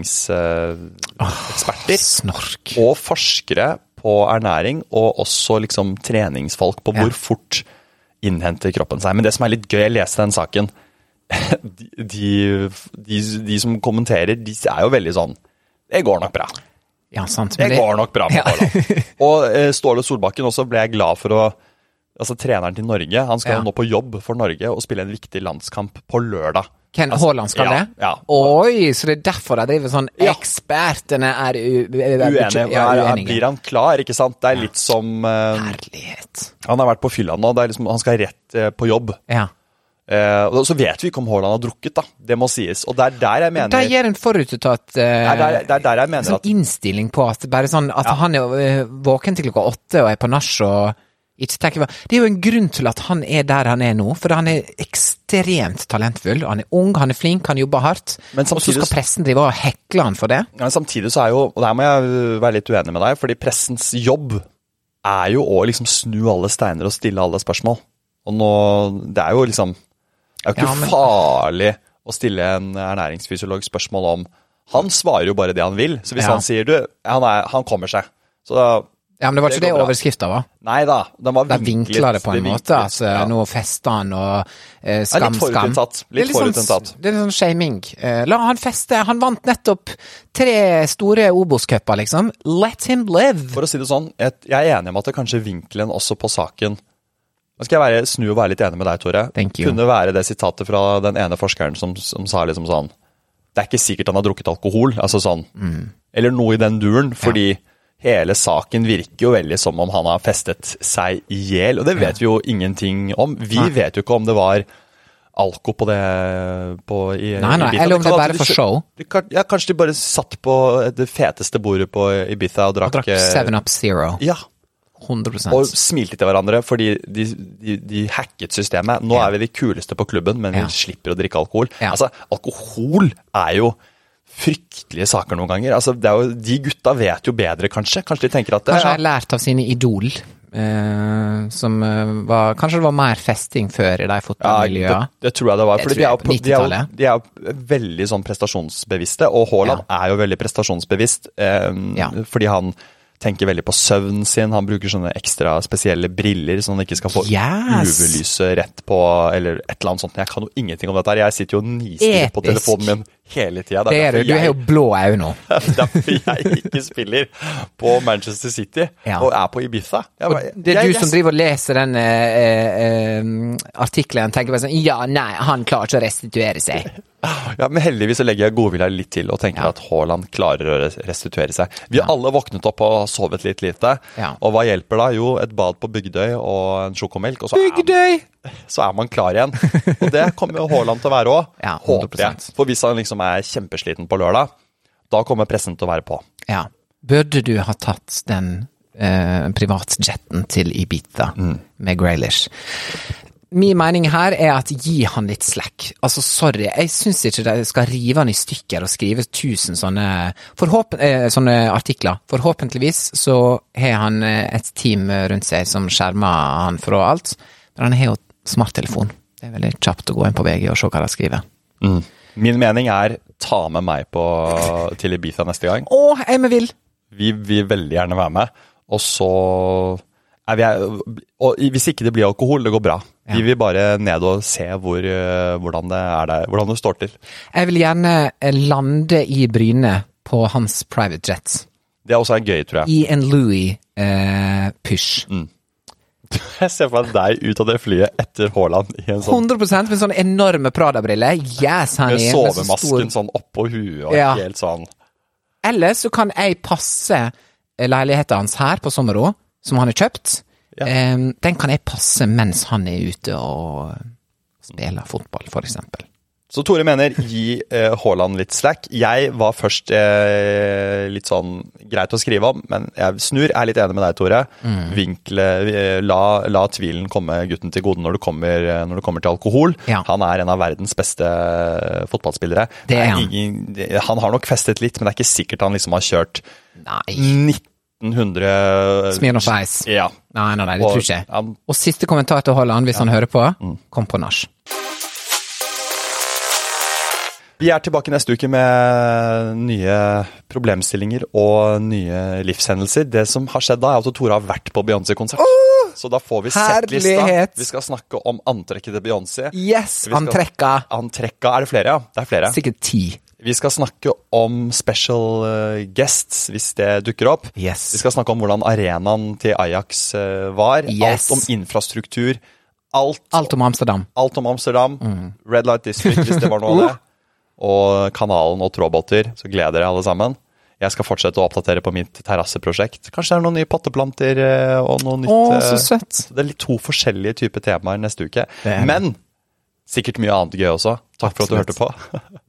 eh, ernæringseksperter
Snork.
og forskere på ernæring, og også liksom treningsfolk på hvor fort innhenter kroppen seg. Men det som er litt gøy, jeg leste den saken de, de, de, de som kommenterer, de er jo veldig sånn Det går nok bra.
Ja, sant.
Det
men
går nok bra med
Ja.
Haaland. Og eh, Ståle Solbakken også ble jeg glad for å Altså treneren til Norge. Han skal
Ja.
jo nå på jobb for Norge og spille en viktig landskamp på lørdag.
Ken Haaland skal
Altså, ja,
det?
ja.
Oi, så det er derfor de driver sånn
Ja.
Ekspertene er u- u-
Uenig. Er-
Ja,
er-
uenige.
blir han klar, ikke sant? Det er litt som eh,
Herlighet.
Han har vært på fylla nå. Det er liksom, han skal rett eh, på jobb.
Ja.
Eh, og så vet vi ikke om Haaland har drukket, da. Det må sies. Og det er der jeg mener
De gir en forutinntatt eh,
Nei, det er- det er der jeg mener
sånn
at-
innstilling på at bare sånn at han er eh, våken til klokka åtte og er på nach og ikke tenker på Det er jo en grunn til at han er der han er nå, for han er ekstremt talentfull. Han er ung, han er flink, han jobber hardt.
Men
Og så
samtidig-
skal pressen drive og hekle han for det.
Men samtidig så er jo Og der må jeg øh, være litt uenig med deg, fordi pressens jobb er jo å liksom snu alle steiner og stille alle spørsmål. Og nå Det er jo liksom Det er jo ikke
Ja, men-
farlig å stille en ernæringsfysiolog spørsmål om Han svarer jo bare det han vil. Så hvis
Ja.
han sier du, han, er, han kommer seg, så da
Ja, Men det var
Det
ikke det,
går bra.
overskrifta var?
Nei da, den var
Da
vinklet.
vinkler det på en måte.
vinklet,
Altså,
ja.
Nå fester han og eh,
Ja,
skam,
litt
skam.
forutinntatt.
Det er
Litt
sånn-
forutinntatt.
Det er litt sånn shaming. Eh, la han feste. Han vant nettopp tre store Obos-cuper, liksom. Let him live!
For å si det sånn, et, jeg er enig om at det kanskje vinkelen også på saken Nå skal jeg være, snu og være litt enig med deg, Tore.
Thank you.
Kunne være det sitatet fra den ene forskeren som, som sa liksom sånn Det er ikke sikkert han har drukket alkohol. Altså sånn
Mm.
Eller noe i den duren. Fordi hele saken virker jo veldig som om han har festet seg i hjel. Og det vet vi jo ingenting om. Vi vet jo ikke om det var alko på det på, i,
Nei, nei,
Ibiza.
eller om
kan
det
alltid-
bare for show.
Det kan, ja, kanskje de bare satt på det feteste bordet på Ibiza og drakk,
Drakk
eh,
Seven Up Zero.
ja,
100
og smilte til hverandre fordi de, de, de hacket systemet. Nå er vi de kuleste på klubben, men
Ja.
vi slipper å drikke alkohol.
Ja.
Altså, alkohol er jo fryktelige saker noen ganger. Altså, det er jo, de gutta vet jo bedre, kanskje. Kanskje de tenker at det,
Kanskje jeg har lært av sine idol. eh, som eh, var Kanskje det var mer festing før i de
ja, det,
fotballmiljøene.
det tror jeg det var.
Det
Fordi
tror
de er, jo,
jeg på
på- de, er,
90-tallet.
jo- de er jo veldig sånn prestasjonsbevisste, og Haaland er jo veldig prestasjonsbevisst. eh,
Ja.
Fordi han tenker veldig på søvnen sin, han bruker sånne ekstra spesielle briller så han ikke skal få
Yes!
UV-lyset rett på, eller et eller annet sånt. Jeg kan jo ingenting om dette her, jeg sitter jo og nistirrer på
Episk.
telefonen min hele tida.
Det er du. Du har jo blå øyne nå.
derfor jeg ikke spiller på Manchester City
Ja.
og er på Ibiza. Jeg bare-
Det er
jeg-
du
jeg-
som driver og leser den eh, eh, eh, artikkelen og tenker bare sånn Ja, nei, han klarer ikke å restituere seg.
Ja, men heldigvis så legger jeg godvilja litt til og tenker at Haaland klarer å res- restituere seg. Vi har alle våknet opp og sovet litt lite.
Ja.
Og hva hjelper da? Jo, et bad på Bygdøy og en sjokomelk, og så er,
Bygdøy!
så er man klar igjen. Og det kommer jo Haaland til å være òg,
Ja, 100%.
håper jeg. For hvis han liksom er kjempesliten på lørdag, da kommer pressen til å være på.
Ja. Burde du ha tatt den eh, privatjetten til Ibiza med Graylish? Min mening her er at gi han litt slack. Altså, sorry, jeg syns ikke de skal rive han i stykker og skrive tusen sånne, forhåpen, eh, sånne artikler. Forhåpentligvis så har han eh, et team rundt seg som skjermer han fra alt. Men han har jo smarttelefon. Det er veldig kjapt å gå inn på VG og se hva de skriver.
Min mening er ta med meg på, til Ibiza neste gang.
Å, jeg med vil!
Vi vil veldig gjerne være med. Og så er vi, og Hvis ikke det blir alkohol, det går bra. Vi vil bare ned og se hvor, eh, hvordan det er der, hvordan det står til.
Jeg vil gjerne eh, lande i Bryne på hans private jet.
Det er også er gøy, tror jeg.
I en eh, Louis-pysj.
Mm. Jeg ser for meg deg ut av det flyet etter Haaland i en sånn
100 med sånne enorme Prada-briller. Yes,
med
honey. med så stor-
sovemasken sånn oppå huet og
Ja.
helt sånn
Eller så kan jeg passe leiligheten hans eh, her på Sommero, som han har kjøpt. Em, den kan jeg passe mens han er ute og spiller fotball, for eksempel.
Så Tore mener gi eh, Haaland litt slack. Jeg var først eh, litt sånn greit å skrive om, men jeg snur. Jeg er litt enig med deg, Tore.
Mm.
Vinkle, eh, la, la tvilen komme gutten til gode når det kommer, eh, når det kommer til alkohol.
Ja.
Han er en av verdens beste eh, fotballspillere.
Det er
Nei,
han.
ingen- det- han har nok festet litt, men det er ikke sikkert han liksom har kjørt
Nei.
1900
Smirnoff Ice.
Mm. Ja.
Nei, nei, nei, det
Og- Mm.
tror ikke
Ja.
jeg. Og siste kommentar til Haaland, hvis han hører på. Kom på nach.
Vi er tilbake neste uke med nye problemstillinger og nye livshendelser. Det som har skjedd da, er at Tore har vært på Beyoncé-konsert. så da får vi sett lista.
herlighet!
Vi skal snakke om antrekket til Beyoncé.
Yes!
Vi skal-
Antrekka!
Antrekka Er det flere, ja? Det er flere.
Sikkert ti.
Vi skal snakke om special eh, guests, hvis det dukker opp.
Yes.
Vi skal snakke om hvordan arenaen til Ajax eh, var.
Yes.
Alt om infrastruktur. Alt,
Alt om Amsterdam.
alt om Amsterdam.
Mm.
Red Light District, hvis det var noe av det. Og kanalen og trådbåter. Så gleder dere alle sammen. Jeg skal fortsette å oppdatere på mitt terrasseprosjekt. Kanskje det er noen nye potteplanter eh, og noe nytt.
Å,
eh,
så søtt!
så det er litt to forskjellige typer temaer neste uke.
er det.
Men sikkert mye annet gøy også. Takk for at du hørte på.